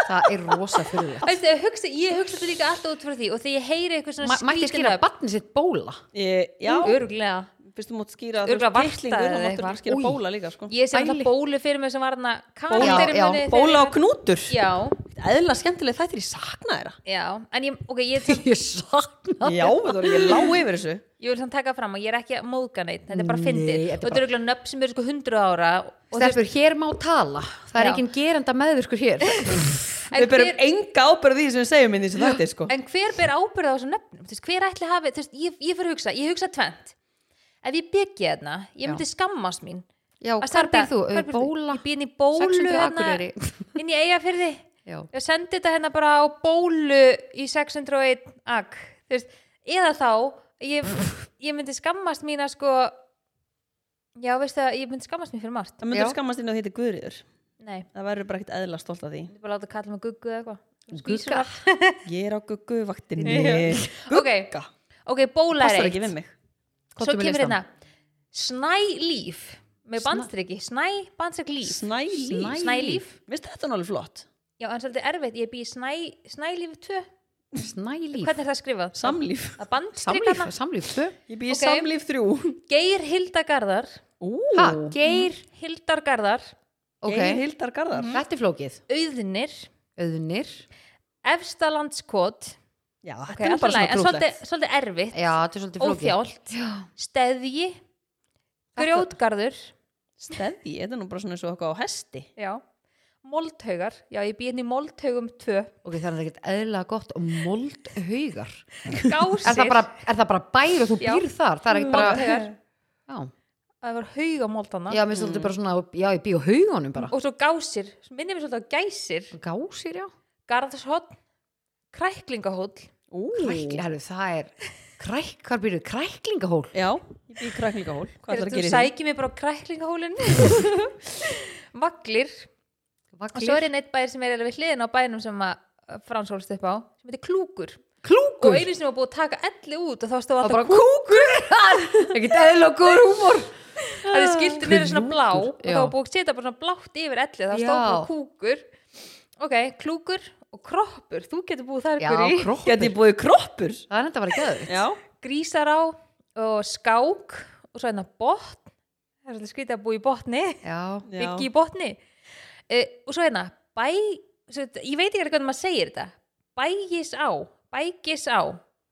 Það er rosa fyrir (laughs) Ætli, ég, hugsa, ég hugsa þetta líka alltaf út frá því og þegar ég heyri eitthvað svona Mætti skýra barni sitt bóla Ég, já, örglega fyrst þú mátt skýra Örugglega þú veist, vartaði titlingur, þá eða máttu eitthvað. ekki skýra Új. bóla líka, sko. ég sé Bæli. alltaf bólu fyrir mig sem var hana Já, já, karakterin Bóla og knútur. já, Æðla skemmtileg þættir, ég sakna þeirra. já, en ég, ok, ég, (laughs) Ég sakna (laughs) Já, þú erum ég lág yfir þessu. ég vil þannig taka fram og ég er ekki að móðga neitt þetta er bara Nei, fyndið þetta er og þetta er örglega nöfn sem eru sko 100 ára og þú veist, Stelpur, hér má tala Það er Já. engin gerenda meðvirkur (laughs) hér en Við berum hver- enga ábyrð því sem við segjum inn í þessu þættir, sko. En hver ber ábyrða á þessum nöfnum? Þú veist, hver ætli hafi, þú veist, ég, ég fyrir að hugsa, ég hugsa tvent. Ef ég byggi þarna, ég myndi skammast mín. Já, Að hvar standa- býr þú? hvar býrð þú? Bóla Ég býð inn í bólu 600 hérna, Akureyri. inn í eiga fyrir þið. Já. Ég sendi þetta hérna bara á bólu í 601 ag. Þú veist, eða þá, ég, ég myndi skammast mín að sko, já, veistu það, ég myndi skammast mín fyrir margt. Það myndur Já. skammast inn á þetta Guðriður. Nei, Það verður bara ekkert eðla stolt af því. ég myndi bara láta að kalla mig guggu eða eitthvað. Gugga? Ég er á gugguvaktinni. Já. Gugga. Ok, bóla er Passar eitt. ekki við mig. Komdu svo með kemur listan. hérna Snælíf með bandstriki, snæ, bandstrik líf Snælíf. Snælíf. Vist þetta er alveg flott? Já, en svolítið erfitt, ég bý í snæ, snælíf 2 Snælíf Hvernig er það skrifað? Samlíf. Það bandstrik Samlíf, hana samlíf tvö Ég býði Ok. okay. samlíf þrjú. Geir Hildagarðar Ú, Ha, Geir geir, Hildargarðar ok Hildar Garðar. Mhm. Þetta er flókið Auðnir Öðunir Efstalandskot Já, Ok, þetta er nú allt í bara lagi, svona en svolítið, krútlegt. svolítið erfitt Já, þetta er svolítið flókið Óþjált Já. Steðji Grjótgarður Steði, þetta er nú bara svona eins og okkar á hesti. Já Moldhaugar, já ég býð inn í Moldhaugum 2 Ok, það er ekkert eðlilega gott og mold haugar Gásir (laughs) er það, bara, er það bara bær og þú Já. býr þar? Það er ekkert bara Moldhaugar Já, Það var haugamóldana já mér svolítið bara svona Já, ég býr á haugunum bara Og svo gásir, minnir mér svolítið á gæsir Gásir, já Garðshotn Kræklingahóll Ú, Krækli, herru, það er Kræk, hvar býrðu? Kræklingahól Já, ég býði kræklingahól. Hvað Þegar ætlar að þú gera í því? sækir mig bara á (laughs) kræklingahólin Vaglir Og svo er Vaglir. einn eitt bæðir sem er eiginlega við hliðin á bæðinum sem að franshólst upp á sem heitir Klúkur og Klúkur einu sem var búið að taka elli út og þá stóð Það alltaf bara kúkur Ekkert eðlilega góður húmor að þið skildi niður svona blá og Já. þá var búið að setja bara svona blátt yfir elli þá Já. stóð bara Klúkur Ok, Klúkur og Kroppur þú getur búið þar Já, ykkur í kroppur Geti ég búið kroppur? Það er enda bara gæður Já. Grísará og Skák og svo hérna Botn það er svolítið skrítið að búið í Botni Já, Já. byggi í botni uh, og svo hérna bæ, svo, þetta- ég veit ekki alveg hvernig maður segir þetta bægisá, bægisá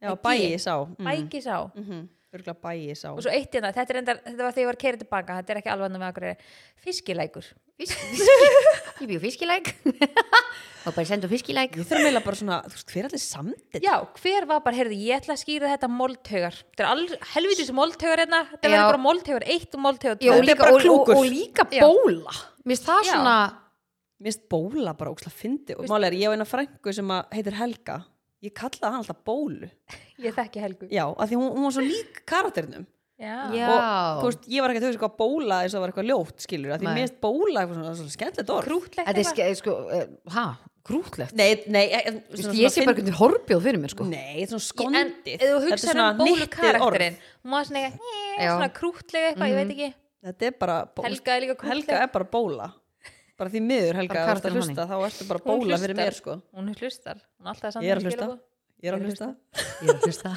Já, bæis á. Mm. Mm. bægisá Örgla bæis á. og svo eitt hérna, þetta, er endar, þetta var þegar ég var keirið tilbaka þetta er ekki alveg annað með akkur fiskilækur Fisk, fisk, ég býð fiskilæk (laughs) og bara senda fiskilæk Við þurfum eiginlega bara svona, þú veist, hver er allir samdið? já, hver var bara, heyrðu, ég ætla að skýra þetta moldhaugar, þetta er alveg helvitis moldhaugar hérna, þetta Já. var bara moldhaugar 1 og moldhaugar Já, 2 Þetta og er líka, bara og, og, klúkur. og líka Já. bóla Mér finnst það Já. svona Mér finnst bóla bara ókslega fyndi. Og málega er ég á eina frængu sem að heitir Helga. Ég kallaði hann alltaf bólu. ég þekki helgu Já, af því hún, hún var svo lík karakternum. já. Já. Og, þú veist, ég var ekki að hugsa hvað bóla eins og það var eitthvað ljótt, skilur. Af því Nei. mér finnst bóla eitthvað svona, svona skemmtilegt orð. krútlegt Þetta er eitthvað. ske- sko, eh, ha, grútlegt Nei, nei, e- e- Vist, svona- Ég svona sé bara hvernig horfjóð fyrir mér sko Nei, þetta er svona Í- en ef skondið þú Þetta er hugsaður svona um bólu hnyttið karakterinn orð. Mhm. hún var svona, eitthvað, eh, Já. svona krútlega eitthvað, ég veit ekki Þetta er bara bó- Helga er líka krútleg. Helga er bara bóla Bara því miður Helga ef þú ert Bara að karakterinn hlusta Þá ertu bara Hún bóla fyrir hlustar. mér sko hún hlustar, hún er alltaf að Ég er að senda hlusta. skilaboð. Ég er að hlusta Ég er að (laughs) hlusta.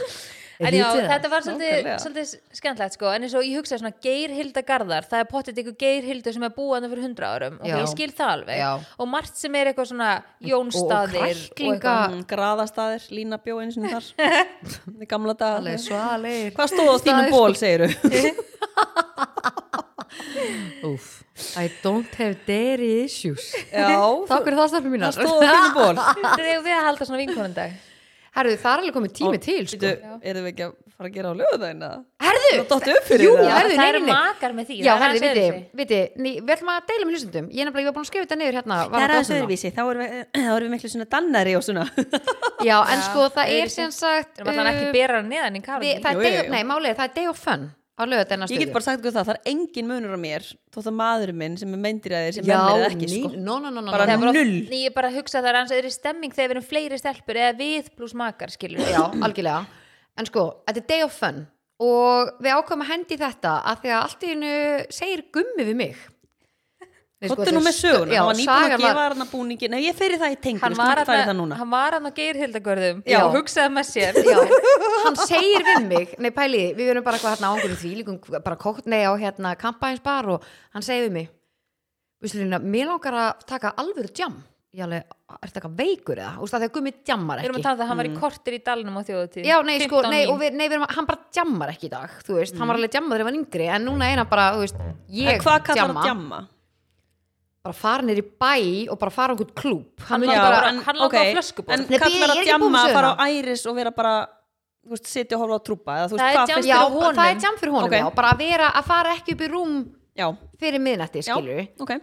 Er en já, vitið það? þetta var svolítið, Nákvæmlega. svolítið skemmtlegt sko. en eins og ég hugsaði svona geirhilda garðar það er pottet ykkur geirhildu sem er búið fyrir hundra árum og Já. ég skil það alveg Já. og margt sem er eitthvað svona jónstaðir Og- og kræklinga. eitthvað. Mm, Graðastaðir, Lína bjó eins og (laughs) þar Í gamla dag Alveg svalir Hvað stóð á Staðir, þínum ból, sko. (laughs) segir þú? Úf, I don't have dairy issues Já (laughs) Takk fyrir það Hvað stafnum mínar stóð á þínum ból? Þetta er við að halda svona vinkonundag (laughs) Herðu, það er alveg komið tími til sko Bíddu, Erum við ekki að fara að gera á lögðaðina? Herðu, Það dottu upp fyrir jú, það. herðu, það nei, eru nei, nei. makar með því Já, það er herðu, aðeins viti, öðruvísi. viti, ný, við ætlum að deila með hlustundum Ég er nefnilega, ég var búin að skrifa þetta niður hérna Það er varðandi aðeins dotturnar. öðruvísi, þá erum við, (clears throat) þá erum við miklu svona dannari og svona Já, en Já, sko, það er öðruvísi. sem sagt Við erum alltaf uh, ekki beraður neðan í við, kafinu það Jú, er jú, day, jú. nei, málið er, það er day of fun á lögadagina Ég get bara sagt ykkur það, það er engin munur á mér Þótt að maðurinn minn sem er meindir að þér sem já, er mér eða ekki ný- sko. no, no, no, no, Bara no. bara, null. Nei, ég bara hugsa að það er aðeins öðru stemming þegar við erum fleiri stelpur eða við pluss makar skilur já, Mm. algjörlega en sko, þetta er day of fun og við ákvæmum að hendi í þetta að því að allt í hennu segir gummi við mig Nei, Kottu sko, þetta nú er með stö- söguna, já, hann var nýbúin sagan að gefa hann að búningi Nei, ég fyrir það í tengur, hann ég skal var ekki fara í þarna- það núna hann var hann á geirhildagörðum Já. og hugsaði með sér Já, hann segir við mig nei pæli, við erum bara eitthvað hérna ángur því líkum bara kótt, nei á hérna kampænsbar og hann segir við mig Vislina, mér langar að taka alvöru djam ég alveg, er þetta eitthvað veikur eða Úst, þegar gummi djammar Við erum að ekki Mm. tala um það að hann var í kortir í dalnum á þjóðutíð Já, nei, sko, nei, og við, nei, við erum, hann bara djammar ekki í dag, þú veist, hann var alveg djammar þegar hann var yngri, en núna er hann bara, þú veist, Mm. En ég hvað kallar djamma, það djamma? bara fara nýr í bæ og bara fara á einhvern klúb, hann Hann myndi já, bara, bara- hann langar á flöskubor. En Nei, bíddu, ég kallar er það ekki búin djamma með að fara á söguna. æris og vera bara Þú veist, sitja og horfa á trúpa Eða þú Það veist, er hvað djamm- finnst já, á þér honum. það er djam fyrir honum, Ok. já, bara að vera, að fara ekki upp í rúm um- Já, fyrir miðnætti, já, skilur ok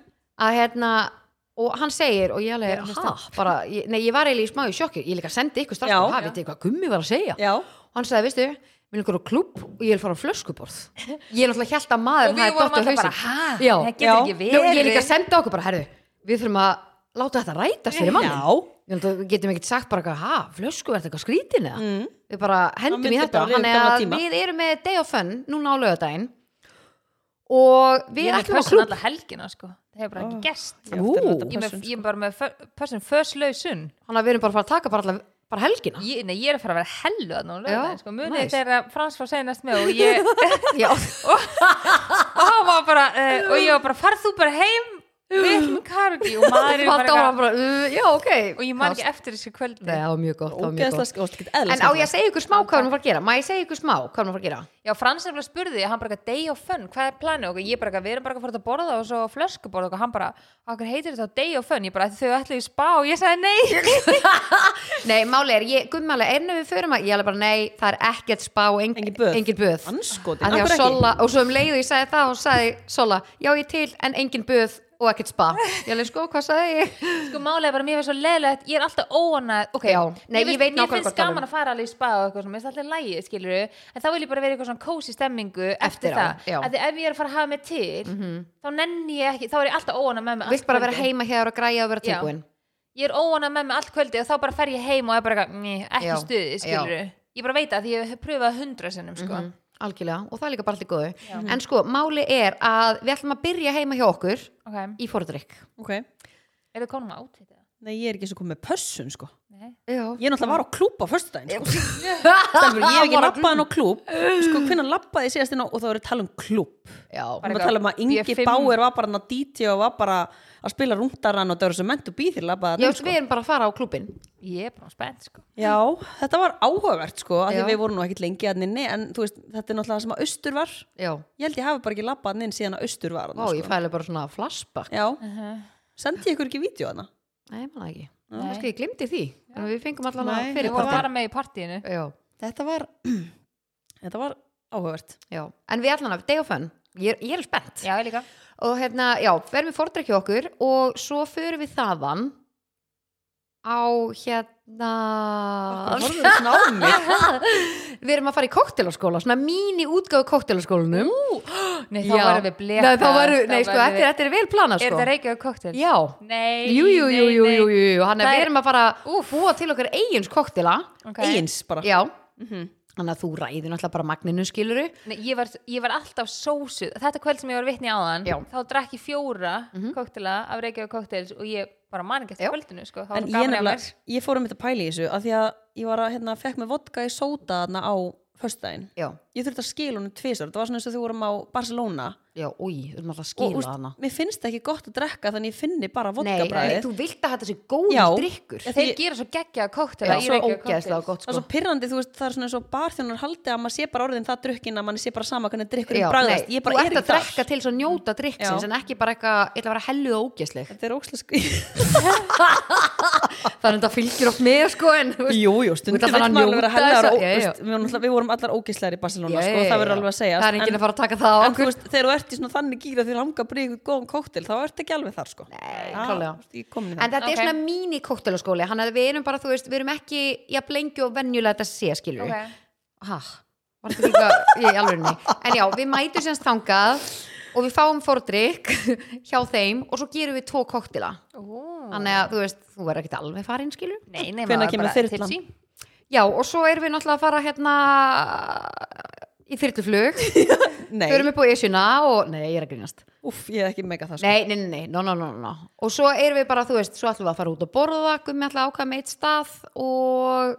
að hérna, og hann segir, og ég alveg, ha, bara, ég, nei, ég var eiginlega í smá í sjokki, ég líka sendi ykkur strax, Já. hvað, veit ég hvað gummi var að segja, Já, og hann sagði, veistu, mér langar á klúb og ég vil fara á flöskuborð, (laughs) ég er náttúrulega hjælt að maður, og við vorum alltaf bara, hæ, Já. það getur Já. ekki Nú, verið ég er líka að senda okkur bara, herru, við þurfum að láta þetta rætast fyrir mann. já Við getum ekkert sagt bara, eitthvað, ha, flösku, er þetta eitthvað skrítin eða? Mm. Við bara Hann hendum í myndi þetta. bara lifa Þannig gamla að tíma. við erum með day of fun núna á laugardaginn og við ég er með ætlum að pössun klúb alla helgina sko það hefur bara Ó. ekki gerst Ég átti að Ú. láta ég, er með, pössun, ég sko. er bara með fö- pössun föslausun þannig að við erum bara að fara að taka bara, alla, bara (laughs) helgina ég, nei, ég er að fara að vera hellu að núna Já, sko. munið nice. nice. þegar Frans fór senast með og ég (laughs) já, og hann var bara uh, og ég var bara farð þú bara heim við ætlum í karaoke og maður er bara, Fanta var hann eitthvað- bara, uh, já ok og ég man ekki eftir þessu kvöldi Nei, það var mjög gott, það var mjög Ógeðslega gott. sk- og þetta getur En eðlilega á ég skemmtilegt. að segja ykkur smá hvað við erum að fara að gera? Má ég segja ykkur smá hvað við erum að fara að gera? já Frans er bara spurði hann bara eitthvað day of fun hvað er planið og ég bara eitthvað, við erum bara að fara út að borða og svo flöskuborða og hann bara okkur heitir þetta day of fun ég bara þau ætlu í spa og ég sagði nei Nei, máli er, ég, gummáli, ennum við förum að, ég alveg bara, nei, það er ekkert spá, engin, Engin böð. Engin böð. Andskotinn, Af því af að hverju ekki? Sola, og svo um leiðu ég sagði það og sagði Sola, já ég til, en engin böð og ekkert spa. Ég alveg, sko, hvað sagði ég? (laughs) (laughs) sko málega bara mér finnst svo leðilegt ég er alltaf óanað ok Já, nei, mér ég veit finnst- mér nákvæmlega finnst hvað þú gaman að fara alveg í spa og eitthvað svona, mér finnst alltaf lægi skilur en þá vil ég bara vera í eitthvað svona kósi stemmingu eftir, Mhm. Eftir á, það já. Af því ef ég er að fara að hafa mig til þá nenni ég ekki þá er ég alltaf óanað með mig Vilt allt bara vera kvöldið. heima hér og græja og vera Já. tilbúin. ég er óanað með mig allt kvöldi og þá bara fer ég heim og er bara eitthvað, "Mm, ekki Já, stuði skilur ég bara veit að því ég hef pröfað hundra sinnum sko. Mhm, Algjörlega, og það er líka bara allir góðu. En sko, máli er að við ætlum að byrja heima hjá okkur ok í fóruðrykk. Ok. er þið konum að átvita Nei, ég er ekki eins og komið með pössun sko. Já. Ég er náttúrulega var á klúb á föstudaginn sko. (laughs) Stelfur, Stelfur, Ég hef ekki labbað hann á klúb Sko, hvernig labbaði ég síðast inn á og það voru að tala um klúb Já, Við erum að tala um að Ingi B5. Báir var bara hann að díti og var bara að spila rungdarann og það voru sem mentu býðir labbaði Já, hann, við erum bara að fara á klúbin. ég er bara spennt sko. Já, þetta var áhugavert sko að Já. því við vorum nú ekkit lengi að nynni en þú veist, þetta er náttúrulega það sem að austur var Já. Ég held ég hafi bara ekki labbað hann inn síðan að austur var Vá, hann, ég sko. fæli bara svona flashback. Já, Mhm. sendi ég ykkur ekki vídeo hana Nei, maður ekki. Nei. Kanski ég glimti því. En við fengum allan að Nei, Við fyrir vorum partí. bara með í partíinu Já, Þetta var, þetta var áhugavert já. En við allan að, day of fun. Ég, er- ég er spennt. já ég líka Og hérna, já, verum við fordrekki okkur og svo förum við þaðan á hérna... Það voru þetta snámi Við erum að fara í koktelarskóla, svona mín í útgáðu koktelarskólanum. nei þá varum við blekað Nei, þá varum, nei, sko, værum þetta er, þetta er vel planað, Er sko. það Reykjavík koktel? Já. Nei, Jú, jú, jú, nei, jú, nei. jú, jú, jú. Þannig Það að er- við erum að fara að búa til okkar eigins koktela. Ok. Eins bara Já. Mhm. Þannig að þú ræður náttúrulega bara magninu, skiluru. Nei, ég, var, ég var alltaf sósuð Þetta kvöld sem ég var vitni áðan Já. Mhm. Þá drakk ég fjóra mm af Reykjavík koktels Og ég bara man ekki eftir kvöldinu sko. Það var En svo ég, gaman hjá nefnilega, mér ég fór um þetta pæli í þessu af því að ég var að, hérna, fekk með vodka í sóta þarna á föstudaginn. Já, Ég þurfti að skila honum tvisar, þetta var svona eins og þú vorum á Barcelona já, úi, við erum alltaf að og skýla hana. mér finnst það ekki gott að drekka þannig ég finni bara Nei, nei, vodkabræðið. þú vilt að þetta sé góður Já. drikkur. Ég- Þeir gera svo geggja koktela Já, svo ógeðslega gott, Það er sko. svo pirrandi, þú veist, það er svona eins og barþjónar haldi að maður sé bara orðin það drukkin að mann sé bara sama hvernig drikkurinn Já, bræðast. nei, Ég þú bara er ert ekki að þar. drekka til þess að njóta drikksins Já. en ekki bara eitthvað, ég ætla að vera helluð og ógeðsleg Þetta er ókslega (laughs) sko... Það er þetta fylgir oft með sko en þú veist- Jú, jú, Þú ert stundum að fara vil að maður alveg vera njóta hellar þessa- og, Já, já. veist, við, vorum alltaf- við vorum allar ógislegar í Barcelona, Já, sko, já, það verður já. alveg að segja. Það er enginn að fara að taka það á en þú okkur veist, þegar þú ert í svona þannig gíra þegar hanga bara í eitthvað góðan kóktel þá ert ekki alveg þar sko Nei, klárlega. Ég kom inn í En það þetta Ok. er svona mín í kóttelaskóli hann að við erum bara, þú veist, við erum ekki jafn lengi og venjulega þetta sé, skilur okay. Hæ, var þetta líka í alvörunni En já, við mætum semst þangað og við fáum fordrykk (laughs) hjá þeim og svo gerum við tvo kóttela Ó. Þannig að, þú veist, þú verður ekkert alveg farin, skilur Nei, nei, Hvenær maður kemur bara þyrlan? tipsy. Já, og svo erum við náttúrulega að fara hérna uh, í þyrluflug Nei, Förum upp á Esjuna og, nei, ég er að grínast uff, ég hef ekki mega það sko Nei, nei, nei, nei, no, no, no, no, no. Og svo erum við bara, þú veist, svo ætlum við að fara út og borða Gummi ætla að ákvæða með eitt stað og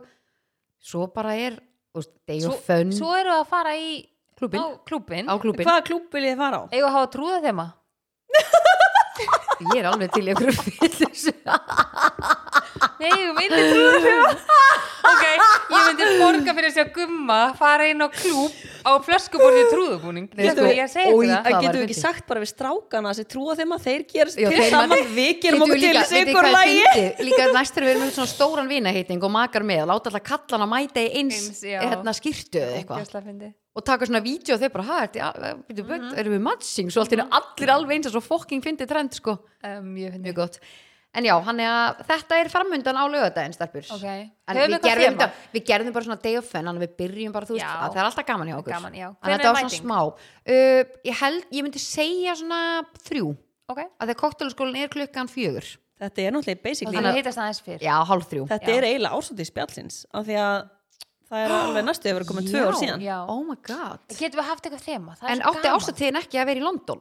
svo bara er þú veist, day Svo, of fun svo eru að fara í Klúbbinn. á klúbin á klúbin Hvaða klúb vil ég fara á? Eigum að hafa trúða þeima Ég er alveg til í einhverju fyllis Nei, ég myndi trúða þeima (laughs) Ok, ég myndi borga fyrir að sjá gumma fara inn á klúb á flöskuborði trúðubúning Nei, Þetta sko, er ég að segja oj, ykkur það það En var getum við ekki fyndið. sagt bara við strákana að þessi trúa þeim að þeir gerast Já, til þeir- saman við gerum okkur til þessi ykkur lægi Líka næst erum við með svona stóran vinaheiting og makar með og láta alltaf kallan að mæta í eins, Eins, já. hérna skýrtu eða eitthvað Ógeðslega fyndið. og taka svona vídeo og þeir bara, hæ, ertu- ja, bíddu, Mhm. bíddu, erum við matching svo allt er allir alveg eins og svo fokking fyndi trend sko Um, Mhm. Mjög fyndið mjög gott en já, hann er að þetta er framundan á lögadaginn stelpur Ok. en Höfum við eitthvað gerðum, þema? þetta- við gerðum bara svona day of fun þannig að við byrjum bara, þú veist, Já. að það er alltaf gaman hjá okkur Gaman, já. þannig að Hvenær þetta er var svona smá uh, ég held, ég myndi segja svona þrjú, Ok, að þegar koktelskólin er klukkan fjögur, Þetta er náttúrulega basically þannig að hittast aðeins fyrr já, hálf þrjú Þetta er eiginlega ársóti spjallins af því að það er alveg næstu hefur komið tvö ár síðan Já. oh my god Getum við haft eitthvað þema? Það er en svo átti gaman. ástatíðin ekki að vera í London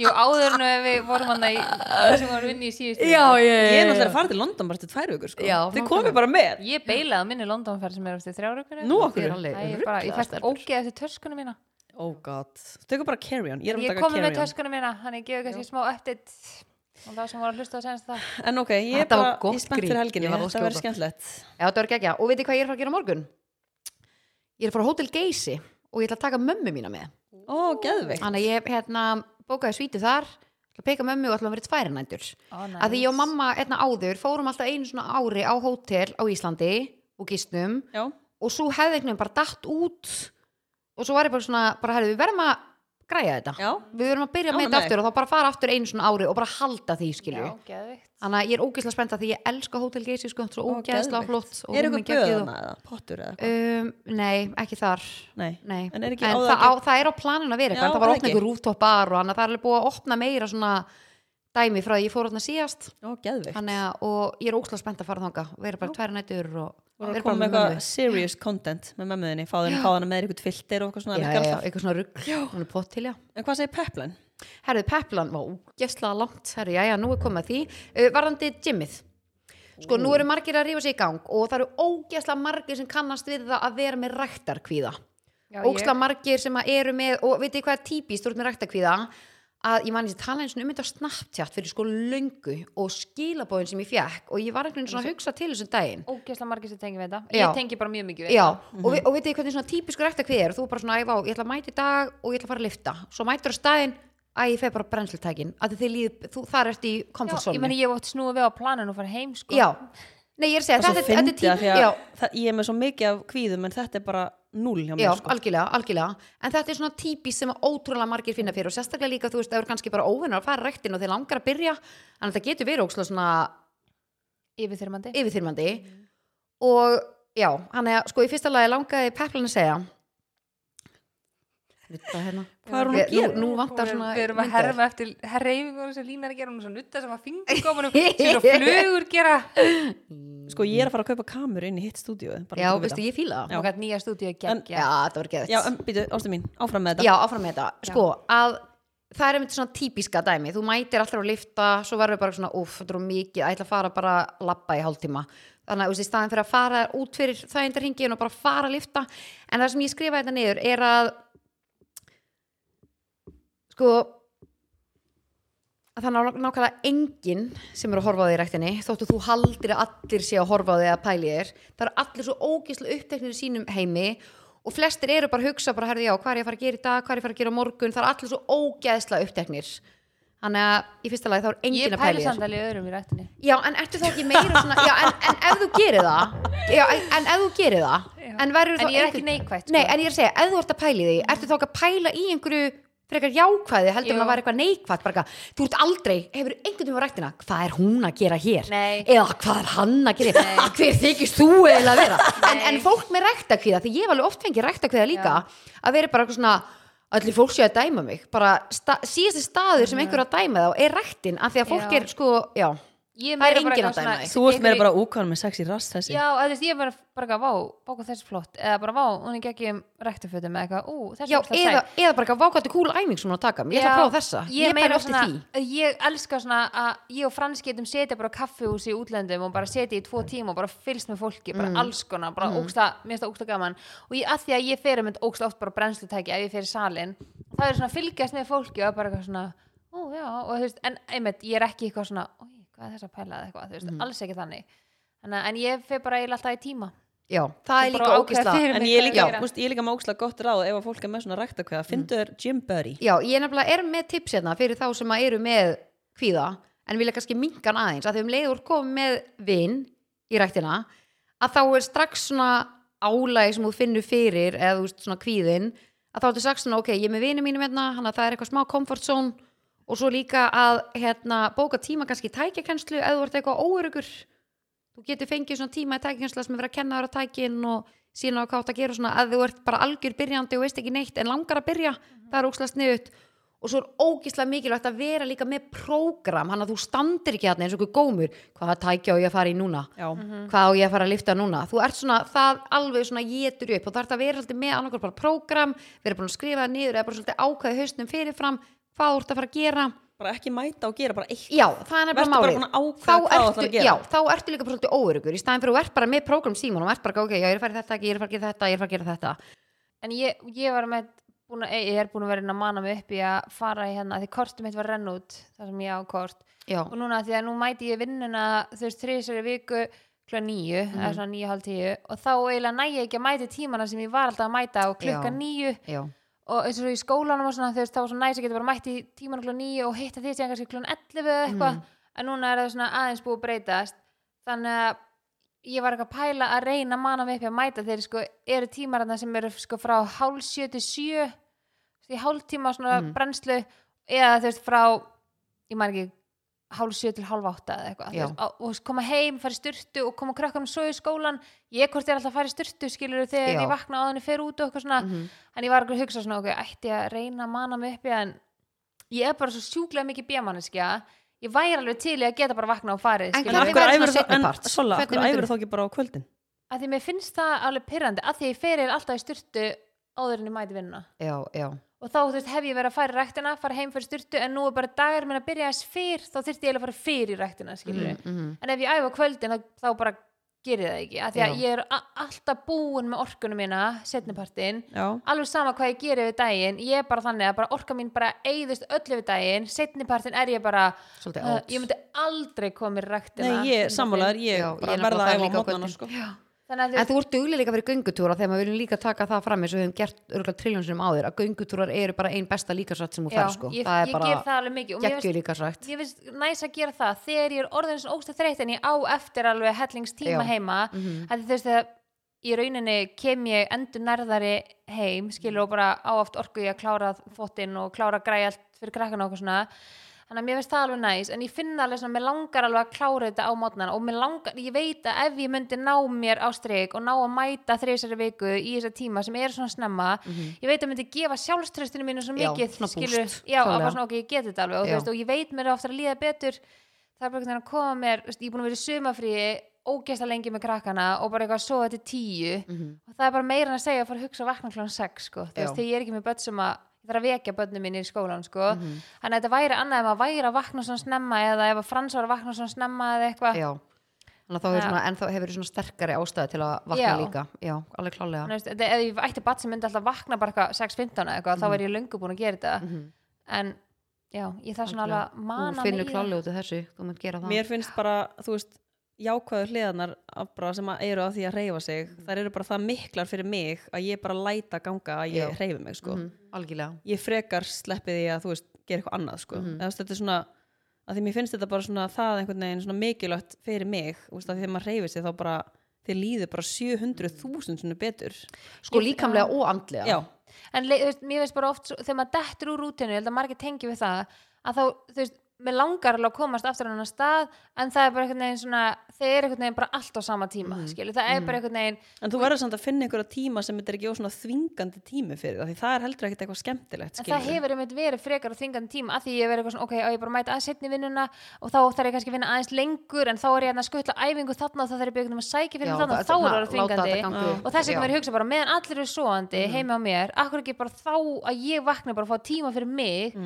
Jú, áður en við vorum hann í, sem vorum inni í síðustu. ég er náttúrulega að fara til London bara til tvær vikur sko. Já, þið nákvæmlega. komið bara með Ég beilaði á minni Londonferð sem er eftir þrjár ykkur. Nú okkur. Þið er alveg Æ, ég, bara, ég ruglaðar fæst stelpur. ógeð eftir töskunum mína. oh god, tökum bara carry-on ég er Ég að taka komið með carry-on töskunum mína, hann er gefið kannski smá update og það sem voru að hlusta á senast það. en ok, ég er Þetta var bara, gott ég er spennt grín. fyrir Ég helginni var að þetta verður skjóta. skemmtilegt Já, þetta verður geggja. Og veitir hvað ég er að fara að gera á morgun? Ég er að fara á Hotel Geysi og ég ætla að taka mömmu mína með. ó, geðveikt Þannig að ég hérna, bókaði svítu þar, ætla að peika mömmu og ætla að vera tværi nændur. Ó, næs. Að því ég og mamma hérna áður fórum alltaf einu svona ári á hótel á Íslandi og gistum já, og svo hefði einhvern veginn bara datt út og svo var ég bara svona, bara herri, við verðum að græja þetta. já, Við verðum að byrja með Ánægð þetta með aftur og þá bara fara aftur einu svona ári og bara halda því, skilju. Já, geðvikt. Þannig að ég er ógeðslega spennt að því ég elska Hotel Geysi, sko, svo Ó, ógeðslega geðveikt. flott. og er rúmin eitthvað geggjuð og- böðum eða pottur eða eitthvað um, Nei, ekki þar nei, nei. En er ekki á það, það á, það er á planinu að vera Já, eitthvað Það var er að opna ekki? ykkur rooftop bar og annað, það er alveg búið að opna meira svona dæmi frá því ég fór þarna síðast ó, geðveikt Þannig að og ég er óslega spennt að fara þanga og vera bara tvær nættur og voru að vera koma með mömmu. eitthvað serious content með mömmuðinni, fáðin að fáðan með eitthvað filter og eitthvað svona Já, alveg já, já, galdrað. eitthvað svona rugg, hún er pott til já en hvað segir Peplan? Herðu, Peplan var úgeslega langt Herðu, já, já, nú er komið að því uh, Varðandi gymmið Sko, nú eru margir að rífa sig í gang og það eru ógeslega margir sem kannast við það að vera með ræktarkvíða Já, ógstlega margir sem að eru með og veitir hvað er típist, þú ert með ræktakvíða að ég man eins og tala eins og um þetta á Snapchat fyrir sko löngu og skilabóðin sem ég fekk og ég var einhvern veginn svona að hugsa til þessum daginn Ógeðslega margir sem tengi við þetta. Já. Ég tengi bara mjög mikið við Mhm. Já, og, vi, og veitir hvernig svona típisku ræktakvíði er þú bara svona, æ, vá, ég ætla að mæta í dag og ég ætla að fara að lifta svo mætur á staðinn, æ, ég feg bara brennslutækin að þið líð, þú, þar ert í Já, ég komfortsólni meni ég hef oft snúið við á planinu og farið heim sko Já, nei, ég er að segja, Það er þetta, svo þetta er fyndið af því típ- að já, það, ég er með svo mikið af kvíðum en þetta er bara null hjá Já, mér sko. algjörlega, algjörlega En þetta er svona típis sem að ótrúlega margir finna fyrir og sérstaklega líka, þú veist, það eru kannski bara óvinnar að fara rektin og þeir langar að byrja en þetta getur verið ókslega svona yfirþyrmandi yfirþyrmandi og já, hann er, sko, í fyrsta lagi langaði Peplan að segja Nutta hérna Hvað er hún Við- að gera? Nú, nú vantar svona Við erum að myndavél. herfa eftir herreifingunum sem línar að gera hún er svo nutta sem að fingurkomunum sem svo (laughs) flugur gera sko ég er að fara að kaupa kamur inn í hitt stúdíu Já, veistu, ég fíla það og gæt nýja stúdíu En- geggja Já, það var geðvægt Já, en býtu, ástu mín, áfram með þetta Já, áfram með þetta, sko, að það er einmitt svona típiska dæmi, þú mætir alltaf að lifta, svo verður bara svona, uff, þetta er of mikið, ætla að fara bara að labba í hálftíma þannig að þú veist, í staðin fyrir að fara út fyrir þægindarhingin og bara fara að lifta en það sem ég skrifa þetta niður er að sko að það er ná- nákvæmlega enginn sem eru að horfa á því í ræktinni þóttu þú haldir að allir sé að horfa á því að pæli þér það eru allir svo ógeðslega uppteknir í sínum heimi og flestir eru bara að hugsa bara, herðu já, hvað er ég að fara að gera í dag, hvað er ég að fara að gera á morgun það eru allir svo ógeðslega uppteknir þannig að í fyrsta lagi þá er Ég enginn að pæli pæli þér samt alveg öðrum í rættinni Já, en ertu þá ekki meira svona Já, en, en ef þú gerir það já, en, en ef þú gerir það En, En verður ég þá er einhver- ekki neikvætt, sko. Nei, en ég er að segja, ef þú ert að pæli því Ertu þá ekki að pæla í einhverju frekar jákvæði heldur en Jú. að vera eitthvað neikvætt bara, eitthvað, þú ert aldrei, hefur einhvern veginn á rættina hvað er hún að gera hér Nei. eða hvað er hann að gera hér? hver þykist þú eiginlega að (laughs) vera en, Nei. en fólk með ræktakviða, því ég hef alveg oft fengið ræktakviða líka að vera bara eitthvað svona allir fólk sé að dæma mig bara sta, síðasti staður sem einhver er að dæma þá er ræktin af því að fólk Mhm. Já. er sko, já Ég Það er meira bara enginn að eitthvað svona- dæma þig. Þú ert meira einhver- bara úkvæðan með sex í rast þessi Já, eða þú veist, ég er bara bara eitthvað, vá, bóka þessi flott eða bara, vá, hún er geggjum ræktufötum eða eitthvað, ú, þessi Já, ógeðslega sæt. eða, eða bara eitthvað vákvættu kúl æming sem hún er að taka, ég ætla að Já, prófa þessa ég, ég, meira pæla oft í svona, því ég elska svona að ég og Frans getum setja bara á kaffihús í útlöndum og bara setja í tvo tíma og bara fylst með fólki, bara alls konar bara mm. ógsta, mér finnst það ógsta gaman og ég, að því að ég fyrir mynd ógsta oft bara á brennslutæki ef ég fyrir salin, það er svona að fylgjast með fólki og bara eitthvað svona ó já, og þú veist, en einmitt, ég er ekki eitthvað svona oj, hvað er þess að pæla eða eitthvað, þú veist, Mm. alls ekki þannig en, en ég fyrir bara eiginlega alltaf í tíma Já, það Bara er líka ákveða ógisla (laughs) fyrir En mig ég er hvað líka, að gera. múst, ég er líka með ókslega gott ráð ef að fólk er með svona rækta kveða Mm. Fyndu þér Jim Buddy Já, ég nefnilega er með tips hérna fyrir þá sem að eru með kvíða en vilja kannski minkan aðeins að því um leiður komið með vinn í ræktina að þá er strax svona álæg sem þú finnur fyrir eða þú veist svona kvíðin að þá ertu strax svona ok, ég er með vinum mínum hérna hann að það er eitthvað smá comfort zone og svo líka að hérna, bóka tíma kannski í tækjakenslu eða þú ert eitthvað óörugur þú getur fengið svona tíma í tækjakenslu sem er verið að kenna þér á tækin og sína á hvað þú átt að gera og svona að þú ert bara algjör byrjandi og veist ekki neitt en langar að byrja, það er ókslega sniðut og svo er ógislega mikilvægt að vera líka með prógram, hann að þú standir ekki þarna eins og einhver gómur, hvaða tækja á ég að fara í núna já, hvað á ég að fara að lifta núna þú ert svona, það alveg svona getur upp og það ert að vera svolítið með annarkvæmst bara prógram vera búin að skrifa það niður eða bara svolítið ákvæði hausnum fyrirfram, hvað þú ert að fara að gera bara ekki mæta og gera bara eitt já, það er Vertu nefnilega bara málið búin að ákveða þá, hvað þú ætlar ertu, að gera. já, þá ertu líka bara svolítið óörugur í staðin fyrir að þú ert bara með prógram síman og ert bara, ok, já, ég er að fara í þetta, ég er að fara að gera þetta, ég er að fara að gera þetta en ég, ég var með búin að, ég er búin að vera inn að mana mig upp í að fara í hérna, því kortum mitt var renn út þar sem ég á kort já, og núna því að nú mæti ég vinnuna þú veist þriðisari viku klukka níu, eða svona níu hálf tíu og þá eiginlega næ ég ekki að mæti tímana sem ég var alltaf að mæta á klukka Já. níu já, og eins og í skólanum og svona þú veist þá var svona næs að geta bara mætt í tíman klukkan níu og hitta því sem kannski klukkan 11 eða Mhm. eitthvað en núna er það svona aðeins búið að breytast þannig að ég var eitthvað að pæla að reyna að mana mig upp í að mæta þeir sko eru tímarna sem eru sko frá hálf sjö til sjö því hálftíma svona Mhm. brennslu eða þú veist frá ég man ekki hálf sjö til hálf átta eða eitthvað þú Já. veist, á- og þú veist, koma heim, fara í styrtu og koma krökkunum svo í skólan ég hvort er alltaf að fara í styrtu skilur þegar Já. ég vakna á þannig fer út og eitthvað svona mhm, en ég var ekki að hugsa svona, ok, ætti ég að reyna að mana mig uppi en ég er bara svo sjúklega mikið bjömanneskja ég væri alveg til í að geta bara vakna og farið En skilur en Hvernig við. af hverju verður æfir svona þá- en seinni part? Solla, af Hvernig hverju æfir myndirðu? þá ekki bara á kvöldin að því mér finnst það alveg pyrrandi að því ég ferir alltaf í styrtu áður en ég mæti vinnuna já, já, og þá þú veist, hef ég verið að fara í ræktina fara heim fyrir styrtu en nú er bara dagar minn að byrja aðeins fyrr þá þyrfti ég eiginlega að fara fyrir í ræktina skilur mhm, en ef ég æfa á kvöldin þá, þá bara gerir það ekki að því að Já. ég er a- alltaf búin með orkunum mína setnipartin já, alveg sama hvað ég geri við daginn ég er bara þannig að bara orka mín bara eigðist öllu við daginn, setnipartin er ég bara svolítið Eh, uh, átt ég myndi aldrei koma í ræktina nei ég sammálaður ég, Já, já, ég ég er verða nefnilega að æfa á líka á mótnana kvöldin. sko. þannig að þú, En þú ert duglega líka fyrir göngutúra þegar maður viljum líka taka það fram eins og við höfum gert örgulega triljónsinum áður að göngutúrar eru bara ein besta líkarsrætt sem þú já, fær sko. ég, það ég er bara ger það alveg mikið og mér geggju finnst- líkarsrætt. mér finnst næs að gera það þegar ég er orðin svona ógsta þreytt en ég á eftir alveg hellingstíma Já. heima mm Mhm. -hmm. þú veist að í rauninni kem ég endur nærðari heim skilur og bara á oft orku ég að klára fótinn og klára að græja allt fyrir krakkan og okkur svona þannig að mér finnst það alveg næs en ég finna alveg svona, mér langar alveg að klára þetta á mótnana og mér langar, ég veit að ef ég myndi ná mér á streik og ná að mæta þreysari viku í þessa tíma sem eru svona snemma mhm, ég veit að myndi gefa sjálfströstinu mínu svo Já, mikið svona boost, skilur, já, að klárlega. bara svona ok, ég get þetta alveg og, þú Já. veist, og ég veit mér ofta að líða betur það er bara einhvern veginn að koma mér þú veist, ég er búin að vera í sumafríi ógesta lengi með krakkana og bara eitthvað að sofa til tíu mhm, og það er bara meira en að segja að fara að hugsa og vakna klán 6 sko, þú Já. veist, þegar ég er ekki með börn sem að ég þarf að vekja börnum minni í skólan sko Mhm. þannig að þetta væri annað ef að væri að vakna svona snemma eða ef að frans var að vakna svona snemma eða eitthvað, Já. Þannig að þá hefur Já. svona, en þá hefur svona sterkari ástæði til að vakna Já. líka. Já, alveg klálega. Þannig, þú veist, þetta- ef ég ætti bat sem myndi alltaf vakna bara eitthvað 6.15 eða eitthvað, Mhm. þá er ég löngu búin að gera þetta en já, ég þarf svona alveg að Þú mana mig í finnur það. klálega út af þessu, þú munt gera það. mér finnst bara, þú veist jákvæðu hliðarnar af bara sem að eru á því að reyfa sig Mm. þær eru bara það miklar fyrir mig að ég bara læta ganga að ég Já. reyfi mig sko. Mhm, Algjörlega. ég frekar sleppi því að þú veist gera eitthvað annað sko. eða þú veist þetta er svona að því mér finnst þetta bara svona það einhvern veginn svona mikilvægt fyrir mig, þú veist að þegar maður reyfi sig þá bara, þið líður bara 700.000 svona betur Sko líkamlega og andlega. já, en le- þú veist, mér veist bara oft svo, þegar maður dettur úr rútinu, ég held að margir tengi við það að þá, þú veist, mér langar alveg að komast aftur á annan stað, en það er bara einhvern veginn svona, þeir eru einhvern veginn bara allt á sama tíma Mhm. mm. það er bara einhvern veginn en þú verður samt að finna einhverja tíma sem þetta er ekki á svona þvingandi tími fyrir það, því það er heldur ekkert eitthvað skemmtilegt en það skilurðu. hefur einmitt verið frekar á þingandi tíma að því ég hef verið eitthvað svona, ok, á ég bara að mæta aðeins setni vinnuna og þá þarf ég kannski að vinna aðeins lengur en þá er ég hérna að skutla æfingu þarna og þá þarf ég byggnum að sækja fyrir Já, mig þarna það- og þá er það- það láta þingandi þetta ganga upp. og þess Já. vegna verið að hugsa bara meðan allir eru svoandi heima á mér, akkur ekki bara þá að ég vakna bara að fá tíma fyrir mig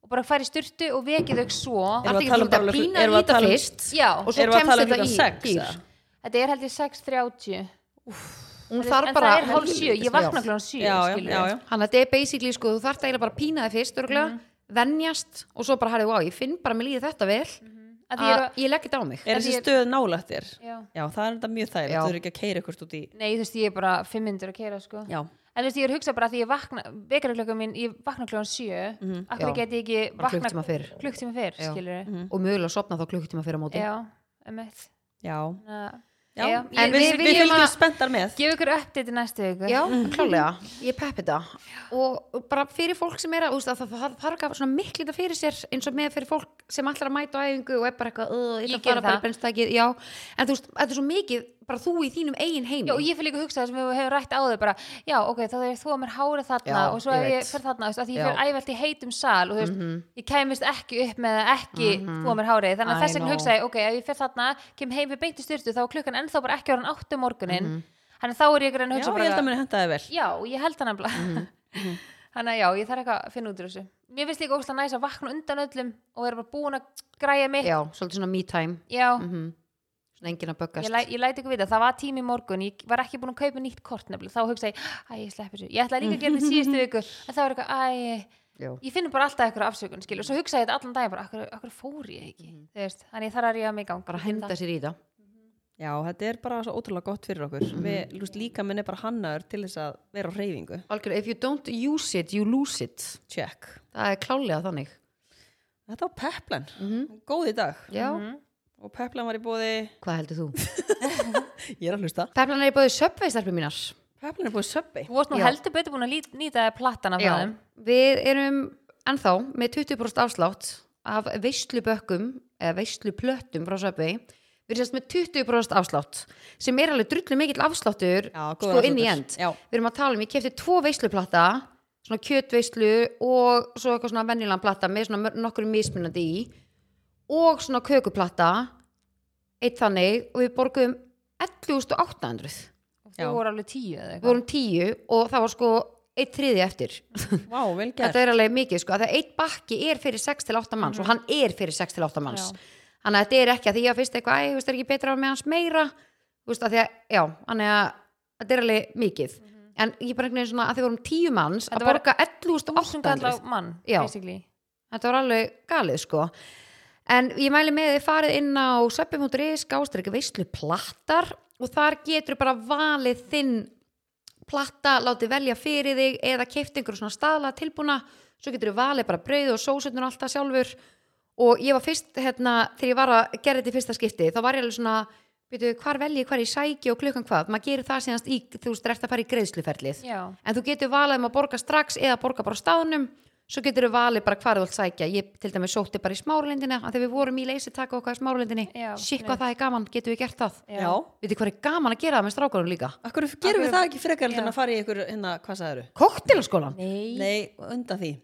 og bara fara í styrtu og vekið þau svo Erum við að Ertu ekki tala um svolítið bara- að pína erum við í að þetta tala um- fyrst Já, og svo Erum við að kemst tala um þetta klukkan í sex, dýr? eða? þetta er held ég 6.30 Hún en þarf það bara er hálf 7, ég vakna Já. klón 7 já, já, já, já. Þannig að þetta er basically sko, þú þarft eiginlega bara að pína þig fyrst örgulega, Mhm. venjast og svo bara herrið, wow, ég finn bara mér líði þetta vel Að Mhm. að því ég er að- ég legg þetta á mig. er En þessi ég- stöð nálægt þér Já. já, það er þetta mjög þægilegt, Já. þú eru ekki að keira eitthvað út í Nei, þú veist, ég er bara 5 minnur að keira sko. já, En þú veist, ég er að hugsa bara að því ég vakna vekarklöku mín, ég vakna klukkan 7 mm, Akkur Já. get ég ekki Bara vakna klukktíma fyrr. Klukktíma fyrr, Já. skilur Mhm. og mögulega sopna þá klukkutíma fyrir á móti Já, emmitt já, já. Já, ég- en við, við við, viljum fylgjum að- spenntar með Gef ykkur update í næstu viku Já, klálega, Mm-hmm. ég peppi þetta og og bara fyrir fólk sem er að, úst, að það, það þarf ekki að svona miklu þetta fyrir sér eins og með fyrir fólk sem ætlar að mæta á æfingu og er bara eitthvað, "Ugh, Ég ég ætla að geri fara bara það. í bennstækið já, en þú veist, þetta er svo mikið bara þú í þínum eigin heimi Já, og ég fyrir líka að hugsa það sem við hefum rætt á þau bara, já, ok, þá þegar þú að mér hárið þarna Já, og svo ég ef ég veit. fer þarna, þú veist, að því Já. Mhm. ég fer ævelt í heitum sal og þú veist, ég kæmist ekki upp með að ekki mm þú að mér hárið, þannig I að þess vegna know. hugsa ég, ok, ef ég fer þarna, kem heim við beinti styrtu, þá er klukkan ennþá bara ekki orðan átt um morgunin, Mhm. þannig að þá er ég ekki að Já, hugsa ég held að bara, mér henda það vel já, ég held það nefnilega, Mhm, (laughs) þannig að já, ég þarf eitthvað að finna út úr þessu. Mér finnst líka óslega næs að vakna undan öllum og vera bara búin að græja mitt, Já, svolítið svona me time já, Mhm. svona enginn að ég, böggast læ, ég læti ykkur vita, það var tími í morgun ég var ekki búin að kaupa nýtt kort nefnilega þá hugsa ég, æ, ég slepp þessu ég ætlaði líka að gera þetta í (laughs) síðustu viku en það var eitthvað, æ, Já. ég finn bara alltaf eitthvað afsökun skil, og svo hugsa ég þetta allan daginn bara, akkur, akkur fór ég ekki mm. veist, þannig þar er ég að mig í gang Mhm. bara henda sér í það Já, þetta er bara svo ótrúlega gott fyrir okkur Við, lúst, líka minn er bara hannaður til þess að vera á hreyfingu Algjörlega, if you don't use it, you lose it Check það er klálega þannig Þetta var peplan, góð í dag Já, Mhm. Og peplan var í bóði, hvað heldur þú? ég er að hlusta Peplan er í bóði söpveistarpi mínar Peplan er búið söppi þú varst nú Já. heldur betur búin að lít, nýta plattana frá þeim Við erum ennþá með 20% afslátt af veislubökkum eða veisluplöttum frá söpvei Við erum sérst með 20% afslátt sem er alveg drullu mikill afsláttur Já, góður sko inn í afsláttur. end Já. Við erum að tala um, ég kefti tvo veisluplata svona kjötveislu og svo eitthvað svona venjulegan plata með svona mör- nokkur mismunandi í og svona kökuplata eitt þannig og við borguðum 11.800 og Já. þú voru alveg tíu eða við eitthvað vorum 10 og það var sko eitt þriði eftir Vá, vel gert þetta er alveg mikið sko, af því að eitt bakki er fyrir 6 til 8 manns og hann er fyrir 6 til 8 manns Mhm. Já. þannig að þetta er ekki að því ég var fyrst eitthvað, æ, þú veist, er ekki betra á með hans meira þú veist, að því að, já, þannig að þetta er alveg mikið en ég bara einhvern veginn svona, að því vorum 10 manns Mhm. Þetta að var borga 11.800 800 mann, Já. basically þetta var alveg galið sko en ég mæli með að þið farið inn á sveppi.is, gástrík veislu plattar og þar getur bara valið þinn platta, látið velja fyrir þig eða keift einhverju svona staðla tilbúna svo getur þið valið bara brauð og sósutnur alltaf sjálfur og ég var fyrst hérna, þegar ég var að gera þetta í fyrsta skipti þá var ég alveg svona, veitu, hvar velji hvar ég sæki og klukkan hvað, maður gerir það síðanst í þú veist, eftir að fara í greiðsluferlið já, en þú getur valið um að borga strax eða borga bara á staðnum svo getur þú valið bara hvar þú vilt sækja ég til dæmis sótti bara í smárlindina að þegar við vorum í leysitaka og okkar í smárlindinni Já, sík snillt. hvað það er gaman, getur við gert það já. Já, veitir hvað er gaman að gera það með strákarum líka akkur gerum Akkur- við það ekki frekar heldur en Já. að fara í ykkur, hérna, hvað sagðið koktélaskólan, Nei. Nei, undan því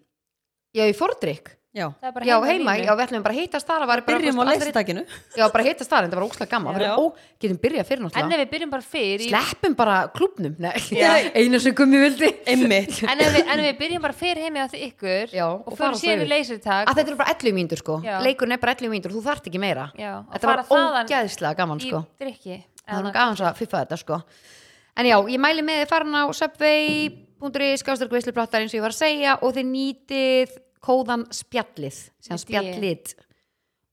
já í fordrykk Já, það er bara já á heima, línu. já við ætlum bara að hittast þar það var bara, byrjum á þú veist, aldrei- leystakinu já bara að hittast þar, en það var ógslag gaman Já. Bara, ó, getum byrjað fyrir en ef náttúrulega við byrjum bara fyrr í- sleppum bara klubnum, Nei, einu sem gummi vildi Einmitt (laughs) en ef við, en ef við byrjum bara fyrr heimi á því ykkur Já, og, og og fara fyrir síðan svo við leysirtak að þetta eru bara 11 mínútur sko Já. leikurinn er bara 11 mínútur, þú þarft ekki meira Já, og þetta var fara þaðan ógeðslega gaman sko í drikki það er nú gafans að fiffa þetta sko en já, ég mæli með þið farin á subway.is, skástur greiðsluplattar eins og ég var að segja og þið nýtið kóðan spjallið sem Nýtti ég. spjallið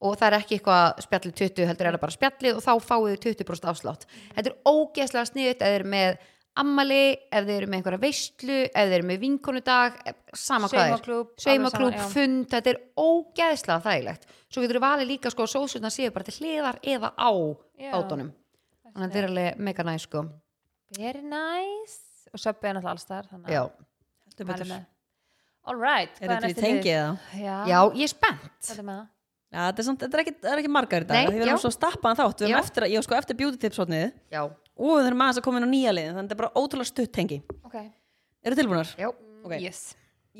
og það er ekki eitthvað spjallið 20 heldur er það bara spjallið og þá fáið þið 20% afslátt þetta er ógeðslega sniðut ef þið eru með ammali, ef þið eru með einhverja veistlu ef þið eru með vinkonudag eh, sama hvað er, Saumaklúbb, alveg sveimaklúb, sama, já. fund þetta er ógeðslega þægilegt svo getur þið valið líka sko að sósutna séu bara til hliðar eða á Já. bátunum þannig að þetta er alveg mega næ sko Very nice og söpbi er náttúrulega alls þar þannig já. að Heldur mæli betur. með. All right, Er þetta í tengið eða? Já, já, ég er spennt þetta með það. Já, þetta er, samt, þetta er ekki, það er ekki margar í Nei, dag Því við já. erum svo stappaðan þátt Við erum Já. eftir, að- ég var sko eftir beauty tips hotnið já, Og við erum aðeins að koma inn á nýja liðin Þannig að þetta er bara ótrúlega stutt tengi Ok, Eru tilbúnar? já. Ok. Mm, yes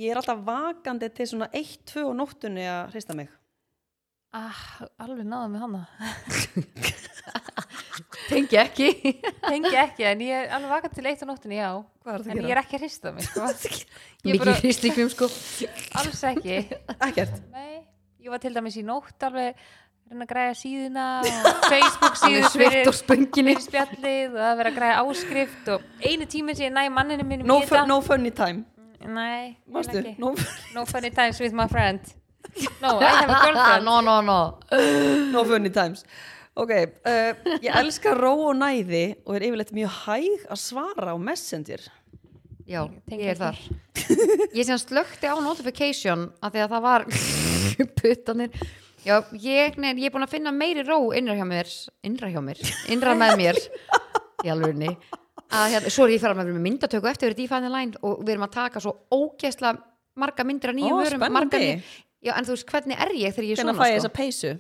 Ég er alltaf vakandi til svona 1-2 á nóttunni að hrista mig ah, Alveg náðum við (laughs) hana (laughs) tengi ekki Tengi ekki, en ég er alveg vakað til eitt á nóttinni, já Hvað er það að En ég er gera? ekki að hrista mig, sko Ég er mikið bara hristlíkjum sko alls ekki Ekkert Nei, ég var til dæmis í nótt alveg að reyna að græja síðuna og Facebook alveg síðu svett fyrir og spönginni fyrir spjallið og að vera að græja áskrift og einu tíminn sem ég næ manninu mínum No, í fun, þetta- no funny time Nei, ég Manstu? ekki. No, No funny times with my friend No, I have a girlfriend (laughs) no, no, no no funny times Ok, uh, ég elska ró og næði og er yfirleitt mjög hæg að svara á messenger já, tengi ég er ekki. þar ég sem slökti á notification af því að það var (laughs) puttanir já, ég, nei, ég er búin að finna meiri ró innra hjá mér innra hjá mér, innra með (laughs) mér í alvegni að hérna, svo er ég fyrir að vera með myndatöku eftir verið dífæðin læn og við erum að taka svo ógeðsla marga myndir af nýjum Ó, vörum margar spennandi. ný- já, en þú veist hvernig er ég þegar ég er Hvernig svona fæ ég sko? þessa peysu?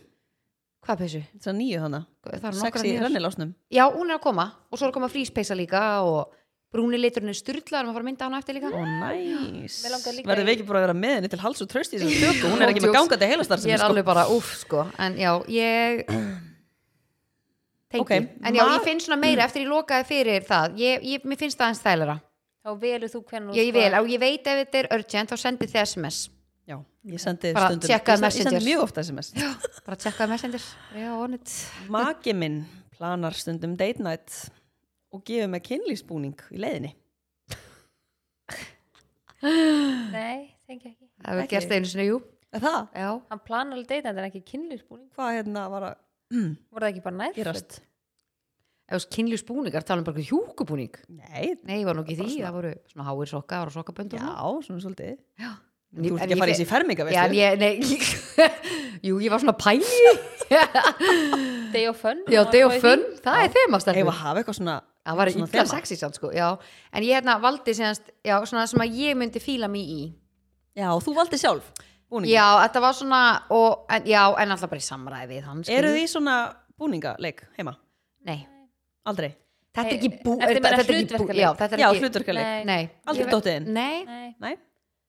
Hvað peysu? það er nýju hana Það eru nokkrar sexy nýjar. rennilásnum Já, hún er að koma og svo er að koma fríspeysa líka og brúni liturinn er styrlaður, maður fara að mynda hana eftir líka Ó, næs Mig langar líka Verðum í- við ekki bara að vera með henni til hals og tröst í þessum tökum Hún er ekki með Djóks. gangandi heilastar Ég er alveg bara, uff, sko en já, ég tengi, Ok, en já, ég maður- finn svona meira eftir ég lokaði fyrir það ég, ég, mér finnst það eins þægilega þá velur þú hvernig ég, ég vil, og ég veit ef þetta er urgent þá sendi þið sms, Já, ég sendi Bara stundum Ég sendi- tjekkaðu Ég messengers. sendi mjög ofta SMS bara tjekkaði messendir já, onnit, Maki minn planar stundum date night og gefur mig kynlýsbúning í leiðinni nei, tengi ekki það hefur Ekki. gerst einu sinni, jú Er það? já, hann planar alveg deyta en það er ekki kynlýsbúning Hvað hérna var að mm, voru það ekki bara nærföt? gerast? ef þess kynljusbúningar tala um bara einhver hjúkubúning Nei, nei, ég var nú ekki í því, Bara svona- það voru svona háir sokka og sokkabönd og já, svona. svona svolítið Já. En Þú ég- ert en ekki ég að fara í fe- þessi ferminga, Já, en veistu? ég, nei, (laughs) jú, ég var svona pæli day of fun Já, Var day of það í því? fun, það er þeim að Ef stelpur að hafa eitthvað svona Það var svona illa þema. sexy samt sko, já En ég hérna valdi síðanst, já, svona sem að ég myndi fíla mig í Já, þú valdi sjálf búningi Já, þetta var svona, og, en, já, en alltaf bara í samræði við hann skilur. Eru því svona búningaleik heima? Nei, Aldrei? þetta er ekki bú Ertu meira þetta er ekki bú- hlutverkaleik? Já, þetta er Já, ekki hluturkaleik Nei. Nei, Aldrei Ég- dottið inn? nei, nei, Nei,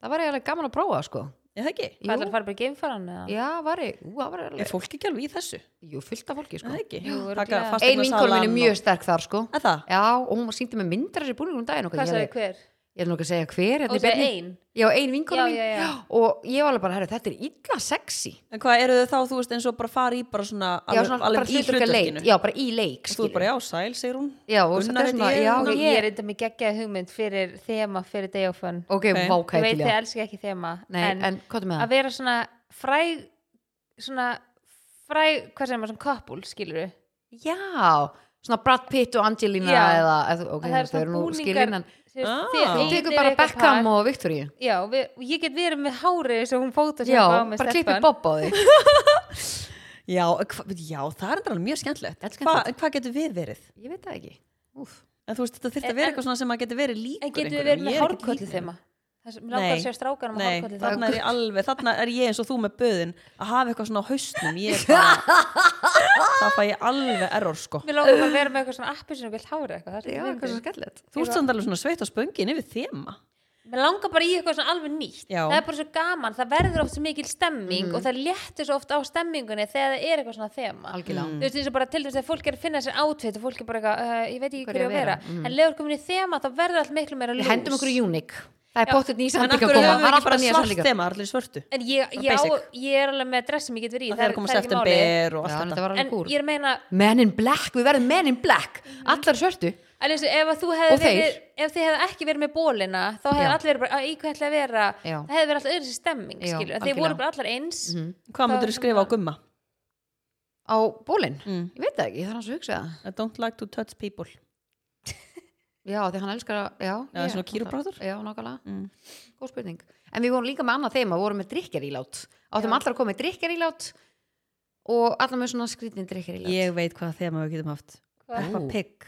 það var eiginlega gaman að prófa sko er það ekki? hvað er Jú, það að fara bara í geimfaran eða? já, var ég, ú, það var Er eiginlega fólk ekki alveg í þessu? Jú, fullt af fólki Er sko það ekki? Jú, Taka örugglega. fasteignasalan Ein vinkonu mín er og- mjög sterk þar sko Er það? Já, og hún síndi með myndar þessi búningur um daginn og hvað ég sagði hefði- hver? ég er nú ekki að segja hver og hérna í það er beinni. ein Já, ein vinkona Já, mín já, já. og ég var alveg bara, herru, þetta er illa sexy En hvað eru þau þá, þú veist, eins og bara fara í bara svona já, svona bara hlutverka leik já, bara í Og leik þú er skilurðu. bara, já, sæl, segir hún já, og Gunnar þetta er heiti svona, ég, já, og Gunnar. ég, ég er eitthvað með geggjað hugmynd fyrir þema fyrir day of fun ok, Ok. ég veit vákætilega þið okay. elskar ekki þema nei, en, en hvað er með að það? vera svona fræg svona fræg, hvað segir maður, svona koppul skilur við já, svona Brad Pitt og Angelina Já. eða, eða ok, það er þau eru svona nú búningar skilin en Ah. þú tekur bara Beckham og Victoria já, við, og ég get verið með hárið eins og hún fóta já, bara klippið bob á þig Já, hva, já, það er þetta alveg mjög skemmtilegt Þetta er Hva, skemmtilegt. en Hvað getur við verið? ég veit það ekki Úf. En þú veist, þetta þurft En- að vera en- eitthvað svona sem að getur verið líkur en getur við einhverjum. verið Ég með er ekkert hárkollu líkur. þema það sem langar Nei. að sjá strákanum að Nei, hárkollu þarna þema er ég alveg, þarna er ég eins og þú með böðin að hafa eitthvað svona á hausnum ég er (laughs) bara, það fæ ég alveg error sko. mér langar bara að vera með eitthvað svona appisinn og vilt hárið eitthvað, það er já, svo eitthvað svo fyndið. skellilegt Þú ert samt alveg svona sveitt á spöngin yfir þema. mér langar bara í eitthvað svona alveg nýtt Já. það er bara svo gaman, það verður oft svo mikil stemming Mhm. og það léttir svo oft á stemmingunni þegar það er eitthvað svona þema algjörlega þú veist eins og bara til þess að fólk er að finna sér átveit og fólk er bara eitthvað, uh, ég veit ekki Hverju hverju að að vera, vera, mm. en leður komin í þema þá verður allt miklu meira við ljós hendum okkur í uník það er Já. bóttið nýja En samtíka akkur að höfum við koma það er ekki alltaf bara nýja svart samtíka þema, allir svörtu. en ég, Bara ég, á, basic. ég er alveg með dress sem ég get verið í Það er að koma það ekki málið. september og Já, allt þetta þetta. var alveg en kúr ég er að meina, Men in black, við verðum Men in black Allar svörtu en eins og ef að þú Og hefði þeir. verið ef þið hefði ekki verið með bólina þá hefði Já. allir verið bara, "Æ, í hvað ætla að vera Já. það hefði verið alltaf öðru sér stemming, Já, skilur en þið algjörlega. voru bara allar eins Hvað Það myndur var skrifa á svona- gumma? Á bólinn Mm. Ég veit það ekki, ég þarf hans að hugsa það I don't like to touch people. Já, því hann elskar að Já, Já, ég- svona kýróprátur. Já, nákvæmlega, Mm. góð spurning En við vorum líka með annað þeim að vorum með drikkarílát Áttum Já. allar að koma með drikkarílát Og allar með svona skrítin drikkarílát Ég veit hvað þema við getum haft. Hvað? Peppa Ú. Pig.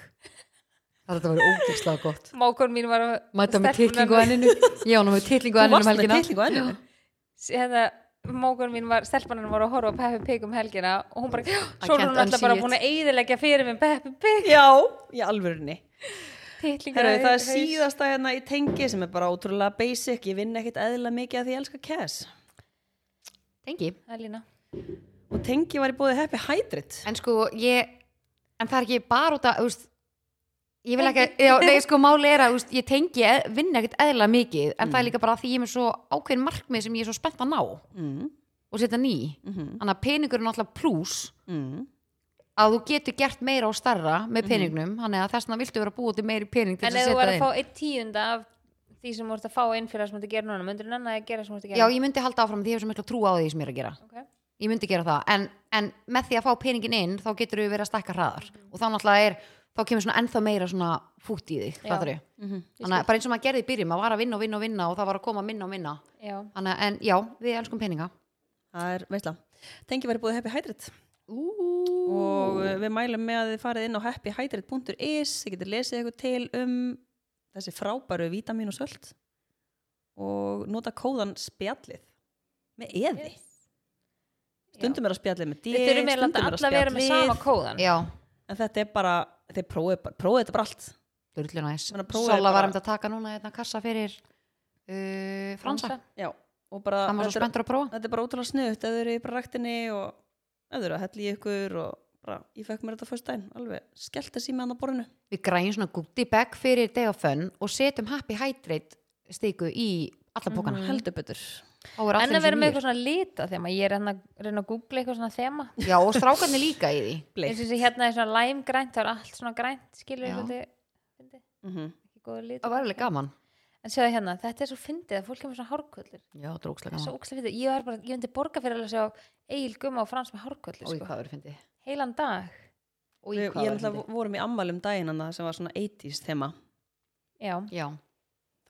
Þetta var ógeðslega gott mákon mín var að Mhm. Mæta með stelpurnar- titlingu á enninu Já, hún var með titlingu á Þú enninu um varst með helgina tilling og ennum. hérna, mókun mín var, stelpanin var að horfa á Peppa Pig um helgina og hún bara, I Sólrún can't er alltaf bara unsee it. búin að eyðileggja fyrir mér Peppa Pig Já, í alvörunni. Titlingur Herru, á það er haus. síðasta hérna í tengi sem er bara ótrúlega basic. Ég vinn ekkit eðla mikið að því ég elska Cass. Tengi Það er lína. Og tengi var í bóði Happy Hydrate. En sko, ég En það er ekki bara út að, þú veist Ég vil ekki, já, nei, sko, máli er að, þú veist, ég tengi, eð- vinna ekkert eðla mikið, en það er líka bara að því ég er með svo ákveðin markmið sem ég er svo spennt að ná og Mm. setja ný. Mm Þannig að peningur er náttúrulega plús, mm. að þú getur gert meira og starra með peningnum þannig að þess vegna viltu vera að búa til meiri pening til Mhm. En ef þess að þú verður setja það að fá inn eitt tíunda af því sem þú ert að fá inn fyrir það sem þú ert að gera núna, myndur þú nanna að gera sem þú ert að já, gera? ég myndi halda áfram því ég hef svo mikla trú á því sem ég er að gera Okay. ég myndi gera það, en, en með því að fá peningin inn þá getur þú verið að stækka hraðar og þá náttúrulega er, þá kemur svona ennþá meira svona fút í þig, Já. hvað þar Mm-hmm. þannig að bara eins og maður gerði í byrjum, maður var að vinna og vinna og vinna og það var að koma minna og minna Já. þannig að, en já, við elskum peninga Það er, veitla, tengi var í bóði Happy Hydrate. Ú, Og uh, við mælum með að þið farið inn á happyhydrate.is. Þið getur lesið eitthvað til um þessi frábæru vítamin og sölt. Og nota kóðan spjallið með eði. stundum er að spjalla með D Við þurfum eiginlega að stundum er alla vera með sama kóðan já, en þetta er bara, þeir prófið, bara- prófið þetta bara allt durðlu næs Ég meina, prófaðu Sola bara- var um að taka núna þetta kassa fyrir uh, Fransa, já, og bara hann var svo þetta, er, spenntur að prófa þetta er bara ótrúlega snuðt ef þau eru í bara ræktinni og ef þau eru að hella í ykkur og bara, ég fekk mér þetta fyrst dæn alveg, skellt þessi með hann á borðinu við grænum svona gutti bag fyrir day of fun og setjum happy hydrate stiku í alla bókana mm heldur betur -hmm. Mhm. En að vera með eitthvað svona lita þema Ég er hérna að reyna að googla eitthvað svona þema já og strákarnir líka í því eins og þessi hérna er svona lime grænt þá er allt svona grænt skilur Já. við þetta fyndið, mm -hmm. ekki góða lit það var alveg gaman en sjáðu hérna, þetta er svo fyndið að fólk kemur svona hárkvöldur já, það er ókslega það er svo gaman ókslega fyndið, ég var bara, ég myndi borga fyrir alveg að sjá Egil Gumma og Frans með hárkvöldur og í sko. hvað verið fyndið heilan dag, og í Við, hvað ég verið ætla fyndið vorum í ammælum daginn hann sem var svona 80s þema já já,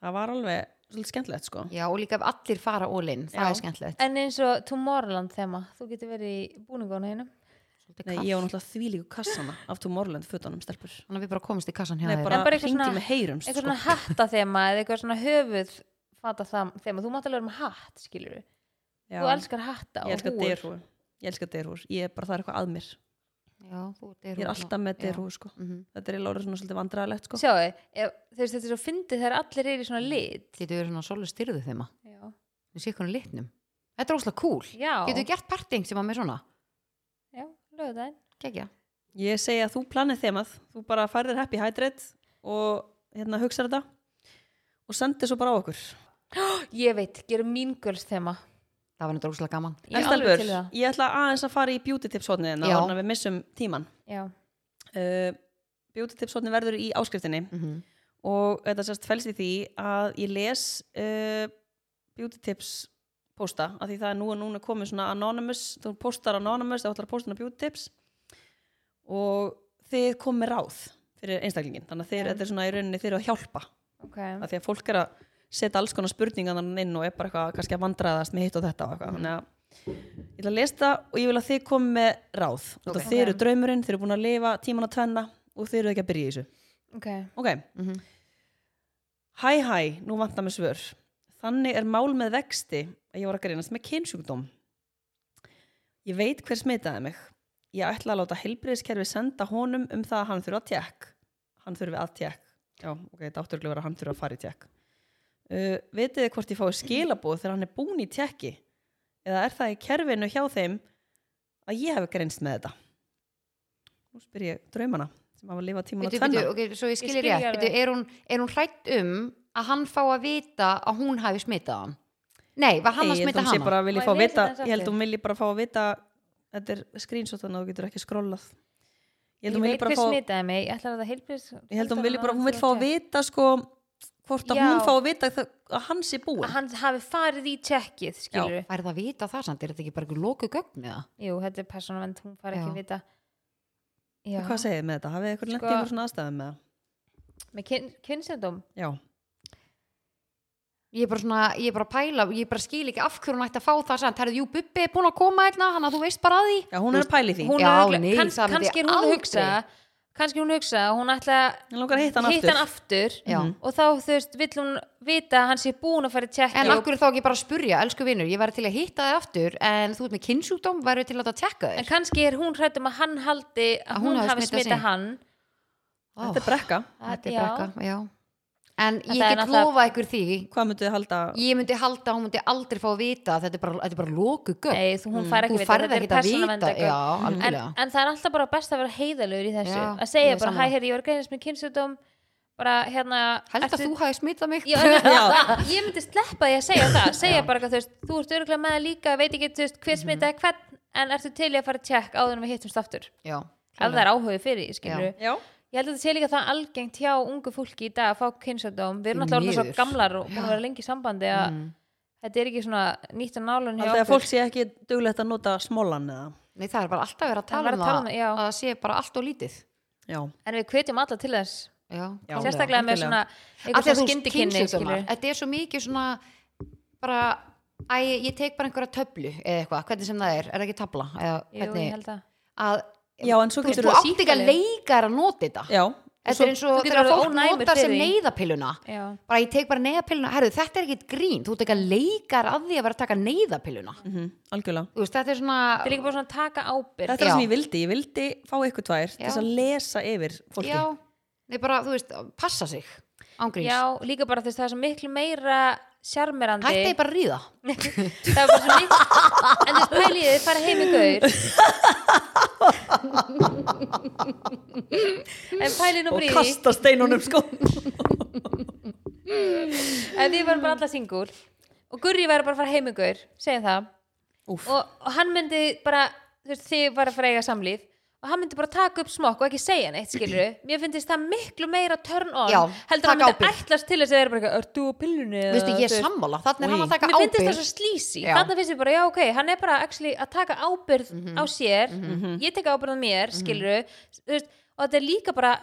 það var alveg svolítið skemmtilegt sko já og líka ef allir fara ólinn það Já. er skemmtilegt en eins og Tomorrowland þema þú getur verið í búningónu hennum Svolítið Nei, kalt. ég var náttúrulega þvílíku kassana af Tomorrowland fötunum stelpur þannig að við bara komumst í kassan hjá Nei, þér bara, En bara bara eitthvað ringi svona- með heyrumst eitthvað sko. svona hatta þema eða eitthvað svona höfuð fata þema, þú mátt alveg vera með hatt skilur við, Já. þú elskar hatta ég elska og húr derhúr ég elska derhúr, ég er bara það er eitthvað að mér já, þú, ég er alltaf með derhúr sko. mm þetta er lórið svona svolítið vandræðalegt sko. sjáðu, ef, þú veist þetta er svo fyndið þegar allir eru í svona lit getur verið svona svolítið styrðu þeim já, við séum hvernig litnum þetta er óslega cool já, getur við gert parting sem að með svona já lögðaðin gegja ég segi að þú planið þemað þú bara færðir happy hydrate og hérna hugsa þetta og sendir svo bara á okkur Ég veit, gerum mín girls þema það var þetta óslega gaman Ég er En alveg stelpur, til í það ég ætla aðeins að fara í beauty tips hodnið Já. þannig að við missum tíman Já, uh, beauty tips hodnið verður í áskriftinni Mhm. og þetta sérst fælst í því að ég les uh, beauty tips posta, af því það er nú og núna komið svona anonymous, þú postar anonymous þá ætlar að posta hana beauty tips og þið komið ráð fyrir einstaklingin, þannig að þið, Já. þetta er svona í rauninni þið eru að hjálpa, ok af því að fólk er að setja alls konar spurningar þannig inn og er bara eitthvað kannski að vandraðast með hitt og þetta og eitthvað, Mhm. þannig að ég ætla að lesa það og ég vil að þið komið með ráð, okay. Ok. þið eru draumurinn, þið eru búin að lifa tíman að tvenna og þið eru ekki að byrja í þessu Ok, okay. Mhm. Hæ hæ, nú vantar mér svör. Þannig er mál með vexti að ég var að greinast með kynsjúkdóm. Ég veit hver smitaði mig. Ég ætla að láta heilbriðiskerfi senda honum um það að hann þurfa að tekk. Hann þurfi að tekk. Já, ok, þetta átturlega vera að hann þurfa að fara í tekk. Uh, vitið þið hvort ég fái skilabóð þegar hann er búin í tekki? Eða er það í kerfinu hjá þeim að ég hef greinst með þetta? Nú spyr ég draumana sem hafa lifað tíman að Bíddu, tvenna. bíddu, ok, svo ég skilji skil ég rétt alveg. bíddu, er, hún, er hún hrætt um að hann fá að vita að hún hafi smitað hann nei, var hann Nei, að ég held smita hún sé hann bara að vilji Má fá ég að lesa vita þetta ég held aftur? hún vilji bara fá að vita þetta er screenshot þannig að þú getur ekki skrollað ég ég held hún vilji veit bara hver fá smitaði mig Ég ætla að það heilbrið ég held hún vilji bara, hún vil fá að vita sko hvort að Já. hún fá að vita það- að hann sé Að búinn hann hafi farið í tjekkið, skilur við er það að vita það samt, er þetta ekki bara ekki loku gögn eða? Jú, þetta er persónavend, hún fari Já. ekki að vita Já, hvað segið þið með þetta, hafið eitthvað lent í Sko- eitthvað svona aðstæðum með það með kynnsendum já, ég er bara svona, ég er bara að pæla ég bara skil ekki af hverju hún ætti að fá það samt, herrðu, jú, Bubbi er búin að koma hérna hann að þú veist bara að því já hún er að pæli því Hún Já, er örugglega- nei, kann- það myndi kannski ég er hún að aldrei. hugsa Kannski hún hugsa að hún ætla Hún langar að hitta hann aftur. aftur Mhm. Já. og þá þú veist, vill hún vita að hann sé búin að fara í en tjekkið af hverju þá ekki bara að spurja, elsku vinnur ég væri til að hitta þig aftur, en þú ert með kynnsjúkdóm væri til að láta tekka En þér kannski er hún hrætt um að hann haldi að, hún, hafi smitað sig. hann Ó, þetta er brekka, þetta er Já. brekka, já en Þetta ég er get náttúrulega- lofa ykkur því hvað mynduð þið halda ég myndi halda að hún myndi aldrei fá að vita að þetta er bara, þetta er bara loku gögn Nei, þú- hún fær ekki Mm. þú vita, færði þetta er ekki að vita persónuverndargögn. já, en, algjörlega en það er alltaf bara best að vera heiðalögur í þessu Já, að ég segja er bara, hæ, sammála. herri, ég var greinist með kynnsjúdóm bara, hérna held að ertu- þú hafi smitað (laughs) mig (laughs) Já, en- (laughs) ég myndi sleppa því að segja það segja bara, eitthvað, þú veist, þú ert örgulega með það líka veit ekki, þú veist, hver Mhm. smitaði hvern en ertu til í að fara að tjekk áður en við hittumst aftur já, ef það er áhuga fyrir, því, skilur já, ég held að þetta sé líka það algengt hjá ungu fólki í dag að fá kynnsjúdóm, við erum Því alltaf svo miður. Mhm. gamlar og búin að vera lengi í sambandi að þetta er ekki svona nýtt og nálun hjá haldið að fólk sé ekki duglegt að nota smólan eða, nei það er bara alltaf verið Það að er tala um bara að tala það um- já. að það sé bara allt og lítið já, en við hvetjum alla til þess já, Já. klálega. sérstaklega með svona algjörlega. eitthvað Af því að svona þú veist, skyndikynni kynsjúkdómar, þetta er svo mikið svona bara, æ, ég tek bara einhverja töflu eða eitthvað, hvernig sem það er, er það ekki tabla eða Jú, ég hvernig held að að já en svo þú veist, getur þú þú átt ekki að leika þér að nota þetta já, Þetta svo- er eins og þú getur þegar orðið fólk ónæmur notar sem fyrir því. neyðapilluna já, bara ég tek bara neyðapilluna, herru þetta er ekkit grín þú ert ekki að leikar að því að vera að taka neyðapilluna mm algjörlega þú veist, þetta er svona þetta er líka bara svona að taka ábyrgð Þetta er það Já. sem ég vildi, ég vildi fá ykkur tvær til þess Já. að lesa yfir fólki já, nei bara, þú veist, passa sig ángríns, já, líka bara þess að það er svo miklu meira sjarmerandi hætti ég bara að ríða (laughs) það er bara svo miklu en þess pæliði þið fara heim í gaur en pæliði nú og bara í því kasta steinunum sko ef við varum bara alla singul og Gurri væri bara að fara heim í gaur segjum það Úff. og, og hann myndi bara þú veist, þið var að fara að eiga samlíf og hann myndi bara taka upp smokk og ekki segja neitt (clears throat) skilur mér finnst það miklu meira turn on Já, heldur að hann taka myndi ábyrgð. ætlast til þess að þeir bara eitthvað, ert þú á pillunni eða, Veistu, ég þú er veist. sammála, þannig er hann Új. að taka mér sko, finnst það ábyrg svo slísi Já. Mhm. þannig finnst ég bara, já ok, hann er bara actually, að taka ábyrgð á sér ég tek ábyrgð á mér, skilur veist, og þetta er líka bara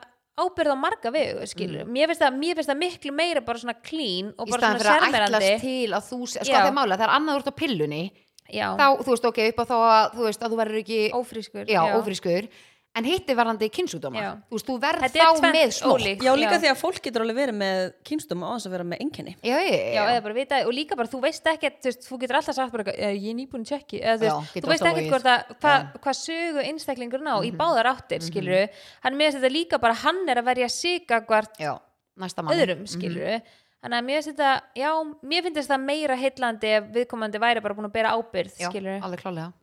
ábyrgð á marga vegu, skilur mér, finnst það, mér finnst það miklu meira bara svona clean og Mhm. í bara staðan svona fyrir að sérmerandi ætlast til að þú, sko Já. það er mála, það er annað úr á pillunni já, þá, þú veist, ok, upp á þá að þú veist, að þú verður ekki, ófrískur já, ófrískur en hitti varandi kynnsúdóma Já. þú veist, þú verð Þetta er þá tvennt með smók ólíkt. Já, líka Já. því að fólk getur alveg verið með kynstum á þess að vera með enginni já, já, Já, eða bara vita, og líka bara, þú veist ekki þú, veist, þú getur alltaf sagt bara, eitthvað, "Eh, ég er nýbúin að tjekki eða, þú, Já, veist, þú getur veist alltaf ekki logið. Mhm. hvað, hvað, hvað sögu einstaklingur ná í báðar áttir, mm -hmm. skilur hann meðast þetta líka bara, hann er að verja sig gagvart já, næsta mann öðrum, skilur þannig að mér finnst þetta, já, mér finnst þetta meira heillandi ef viðkomandi væri bara búin að bera ábyrð, já, skilur alveg klálega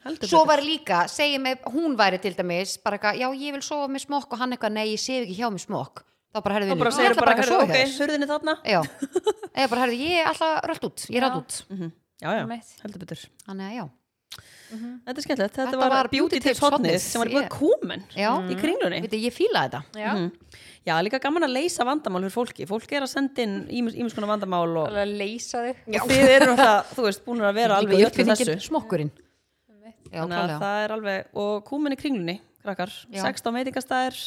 Heldur Mhm. svo betur. var líka, segjum ef hún væri til dæmis bara eitthvað, já, ég vil sofa með smók og hann eitthvað, nei, ég sef ekki hjá með smók þá bara herðu Þá vinur, bara ég segir ætla bara bara, ekki að bara sofa ok, hjá þér hurðinni þarna já, eða bara herðu, ég er alltaf rölt út ég er Já. rölt út, Mhm. Já, já, Einmitt. heldur betur þannig að já Þetta er skemmtilegt, þetta, Þetta var, var beauty Beauty tips Tips hotnið hornið, sem var búin yeah. að kúmen Já. í kringlunni Veitu, ég fíla þetta já, mm Mhm. Já, líka gaman að leysa vandamál fyrir fólki Fólk er að senda inn ímis, ímis konar vandamál og, alveg að leysa þig og þið eru alltaf, þú veist, búin að vera alveg í öllu þessu smokkurinn já, Þannig að klálega það er alveg, og kúmen í kringlunni, krakkar 16 veitingastæðir,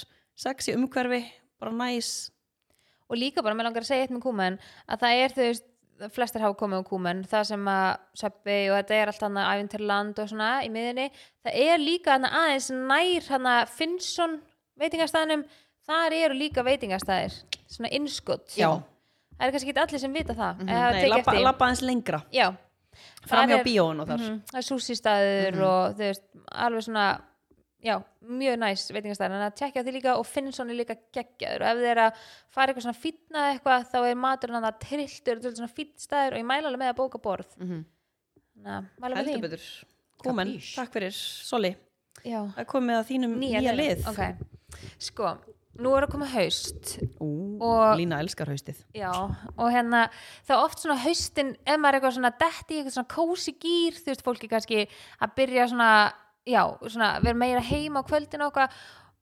6 í umhverfi bara næs og líka bara, mér langar að segja eitt með kúmen að það er, þú veist, flestir hafa komið á kúmen það sem að söppi og þetta er allt hann að æfintirland og svona í miðinni það er líka hann aðeins nær hann að Finnsson veitingastæðinum þar eru líka veitingastæðir svona innskott Já. Mhm. það er kannski ekki allir sem vita það mm Nei, labba, -hmm. labba aðeins lengra já Þar framhjá er- bíóinu þar Mhm. Mhm, það er súsistæður og þú veist, alveg svona já, mjög næs veitingastæður en að tjekkja á því líka og Finnsson er líka geggjaður og ef þið er að fara eitthvað svona fýtna eitthvað þá er maturinn að það trilltur og svona fýtstæður og ég mæla alveg með að bóka borð Mhm. Ná, mæla með heldur því betur, kúmen, Kapís. takk fyrir Soli, já, það er komið að þínum nýja, lið ok, sko nú er að koma haust Ú, Og- Lína elskar haustið Já, og hérna það er oft svona haustin ef maður er eitthvað svona detti í eitthvað svona kósi gýr þú veist, fólki kannski að byrja svona já, svona vera meira heima á kvöldin og eitthvað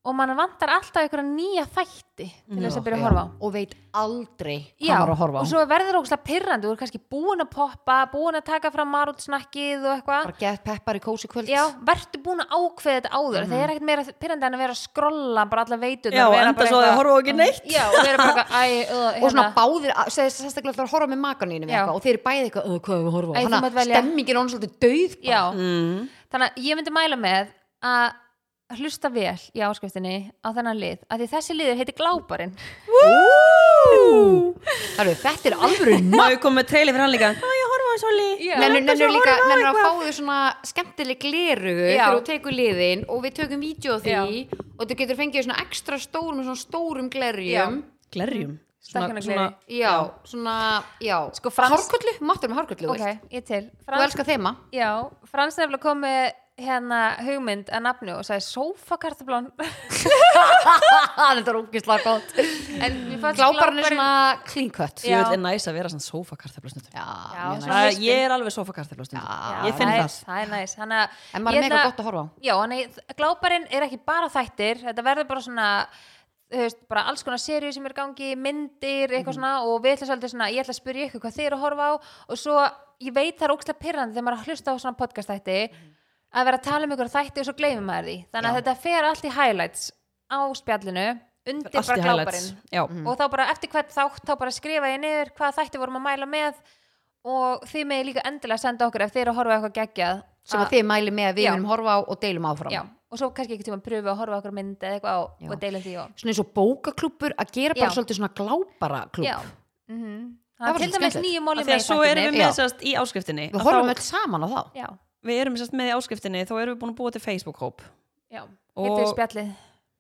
og mann vantar alltaf eitthvað nýja þætti til þess að byrja að horfa á og veit aldrei Já, hvað var að horfa á og svo verður ógustlega pirrandi þú er kannski búin að poppa, búin að taka fram marútsnakkið og eitthvað bara get peppar í kósi kvöld Já, verður búin að ákveða þetta áður það er ekkert meira pirrandi en að vera að skrolla bara alla veitur Já, enda svo að horfa á ekki neitt Já, og vera bara eitthvað, æ, uh, (laughs) og svona hérna. báðir, að- seg- sérstaklega ætlar að horfa með makanínum Já. og þeir eru bæði eitthvað, "Ö, hvað er við að horfa á Æ, þú Þannig mátt að velja. stemmingin er hann svolítið döð bara. Já, mm. Þannig að ég myndi mæla með að hlusta vel í áskriftinni á þennan lið, af því þessi liður heiti Gláparinn Það eru, þetta er alvöru (laughs) Má ég koma með treyli fyrir hann líka Má ég horfa á Soli Já. Nennur, nennur líka, nennur að fá þau svona skemmtileg gleru Já. þegar þú tekur liðin og við tökum vídeo af því Já. og þú getur fengið svona ekstra stórum með svona stórum glerjum Já. Glerjum Stækkunargleri. já, svona, já Sko, Frans- Hárkollu, máttur með hárkollu þú Ok, veist. ég til Þú Frans, elskar þema (laughs) já, Frans nefnilega kom með hérna hugmynd að nafnu og sagði sófakartablón Ah, Þetta er ógislega gott (laughs) en mér fannst Gláparinn er svona clean cut Já. Ég vil er næs að vera svona sófakarteflustundum Já, mjög næs. svona- Eh, Ég er alveg sófakarteflustundum Já. Ég finn er- það Það er næs Þannig að hérna- En maður ég er mega ætla- gott að horfa á Já, þannig að gláparinn er ekki bara þættir þetta verður bara svona þú veist, bara alls konar serið sem er í gangi myndir, Mhm. eitthvað svona og við ætlum svolítið svona, ég ætla að spyrja ykkur hvað þið eru að horfa á og svo, ég veit það er ógstlega pirrandi þegar maður er að hlusta á svona podcastætti Mhm. að vera að tala um ykkur þætti og svo gleymir maður því þannig að þetta fer allt í highlights á spjallinu undir Allt bara í highlights Mhm. gláparinn Já, Mhm. og þá bara eftir hvert þátt þá bara skrifa ég niður hvað þætti vorum að mæla með og þið með líka endilega senda okkur ef þið eru að horfa á eitthvað geggjað sem að- að þið mæli með að við Ah. Já. munum horfa á og deilum áfram Já, og svo kannski ekki tíma að pröfu að horfa okkur mynd eða eitthvað á Já. og deila því á svona eins og bókaklúpur að gera bara Já. svolítið svona glábara Já, klúpp mm -hmm. var til svolítið dæmis skemmtilegt. nýju Af móli því að svo erum við já. með sérst í áskriftinni við að horfum þá- öll saman á þá Já, við erum sérst með í áskriftinni þá erum við búin að búa til Facebook-hóp já, Og- hittu spjallið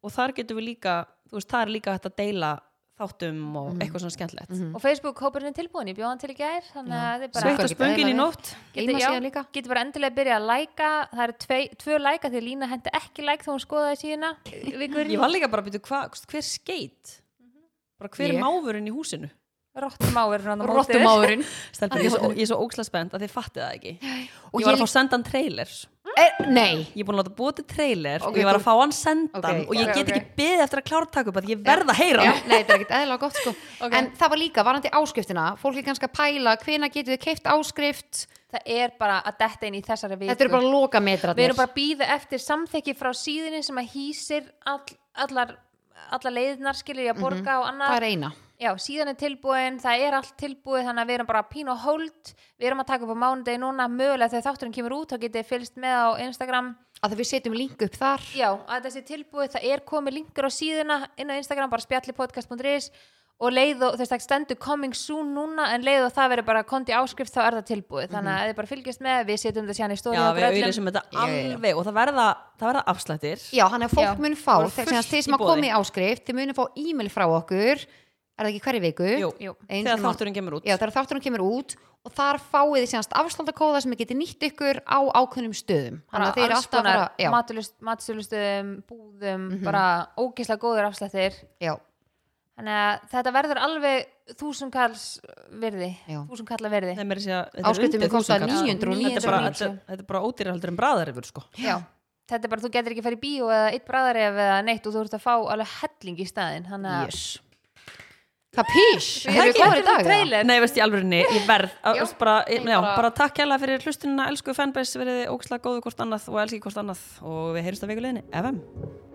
og þar getum við líka, þú veist, þar er líka hægt að deila þáttum og eitthvað svona skemmtilegt Mhm. og Facebook-hópurinn er tilbúin, ég bjóðan til í gær þannig Já. að þið bara Sveitt og Sveittar- spöngin í nótt Geti- Heimasíða já, líka. geti bara endilega byrjað að læka það eru tvei, tvö læka því Lína hendi ekki læk þá hún skoðaði síðuna Ég var líka bara að byrja, hva, hver skeit? Bara hver Ég. er máfurinn í húsinu? Rottumáur rottumáurinn Stelpur, ég, er svo- ég er svo óksla spennt að þið fattið það ekki Og Ég var að ég- fá sendan trailers er, nei Ég er búin að láta búa til trailer Ok, og ég var þú- að fá hann sendan Ok, og ég ok, get ok. ekki beðið eftir að klára að taka upp að ég verð að heyra Já, hann nei, þetta er ekkert eðla gott sko En það var líka, varandi áskriftina Fólk er kannski að pæla, hvena getur þið keift áskrift það er bara að detta inn í þessari viku Þetta eru bara lokametrarnir sko- við erum bara að býða eftir samþekki frá síðinni sem að hýsir all, allar, allar leiðnar skilur ég að borga og Það annað er eina já, síðan er tilbúin, það er allt tilbúið þannig að við erum bara pín og hold við erum að taka upp á mánudegi núna, mögulega þegar þátturinn kemur út þá getið þið fylgst með á Instagram Að við setjum link upp þar Já, að þessi tilbúið, það er komið linkur á síðuna inn á Instagram, bara spjallipodcast.is og leið og þess að stendur coming soon núna en leið og það verður bara kondi áskrift þá er það tilbúið, þannig Mhm. að ef þið bara fylgjast með við setjum þetta síðan í stóri Já, við auðvitað þetta Já, já, já. alveg og það verða, það verða afslættir Já, hann er fólk Já, mun fá það var Þegar fullt þeir í sem að boði. koma í áskrift Þeir munu fá e-mail frá okkur Er það ekki hverju viku? Jú, Jú. Einu þegar sinni á- þátturinn kemur út Já, þegar þátturinn kemur út og þar fáið þið síðanst afslandakóða sem þið getið nýtt ykkur á ákveðnum stöðum bara Þannig að þeir eru alls alltaf bara já, Mhm. konar matsölustöðum, búðum bara ógislega góður afslættir já, þannig að þetta verður alveg þúsunkalls virði, Já. þúsunkalla virði Nei, meira að segja, þetta er Áskriftin undir mun kosta þúsund kall. 900 Þetta er bara- 990. þetta- Þetta er bara ódýrhaldur en bræðar yfir sko Já. Þetta er bara, þú getur ekki að fara í bíó eða eitt bræðaref eða neitt og þú ert að fá alveg helling í staðin, þannig að yes Kapís, Við hefur við erum kláður í klárir dag? eða? trailer Nei, veist ég alveg henni, ég verð að- Já. veist, bara, Nei, já, bara- bara takk hérlega fyrir hlustunina, elsku fanbase, veriði óksla góðu hvort annað og elski hvort annað og við heyrjumst að vikuleginni, FM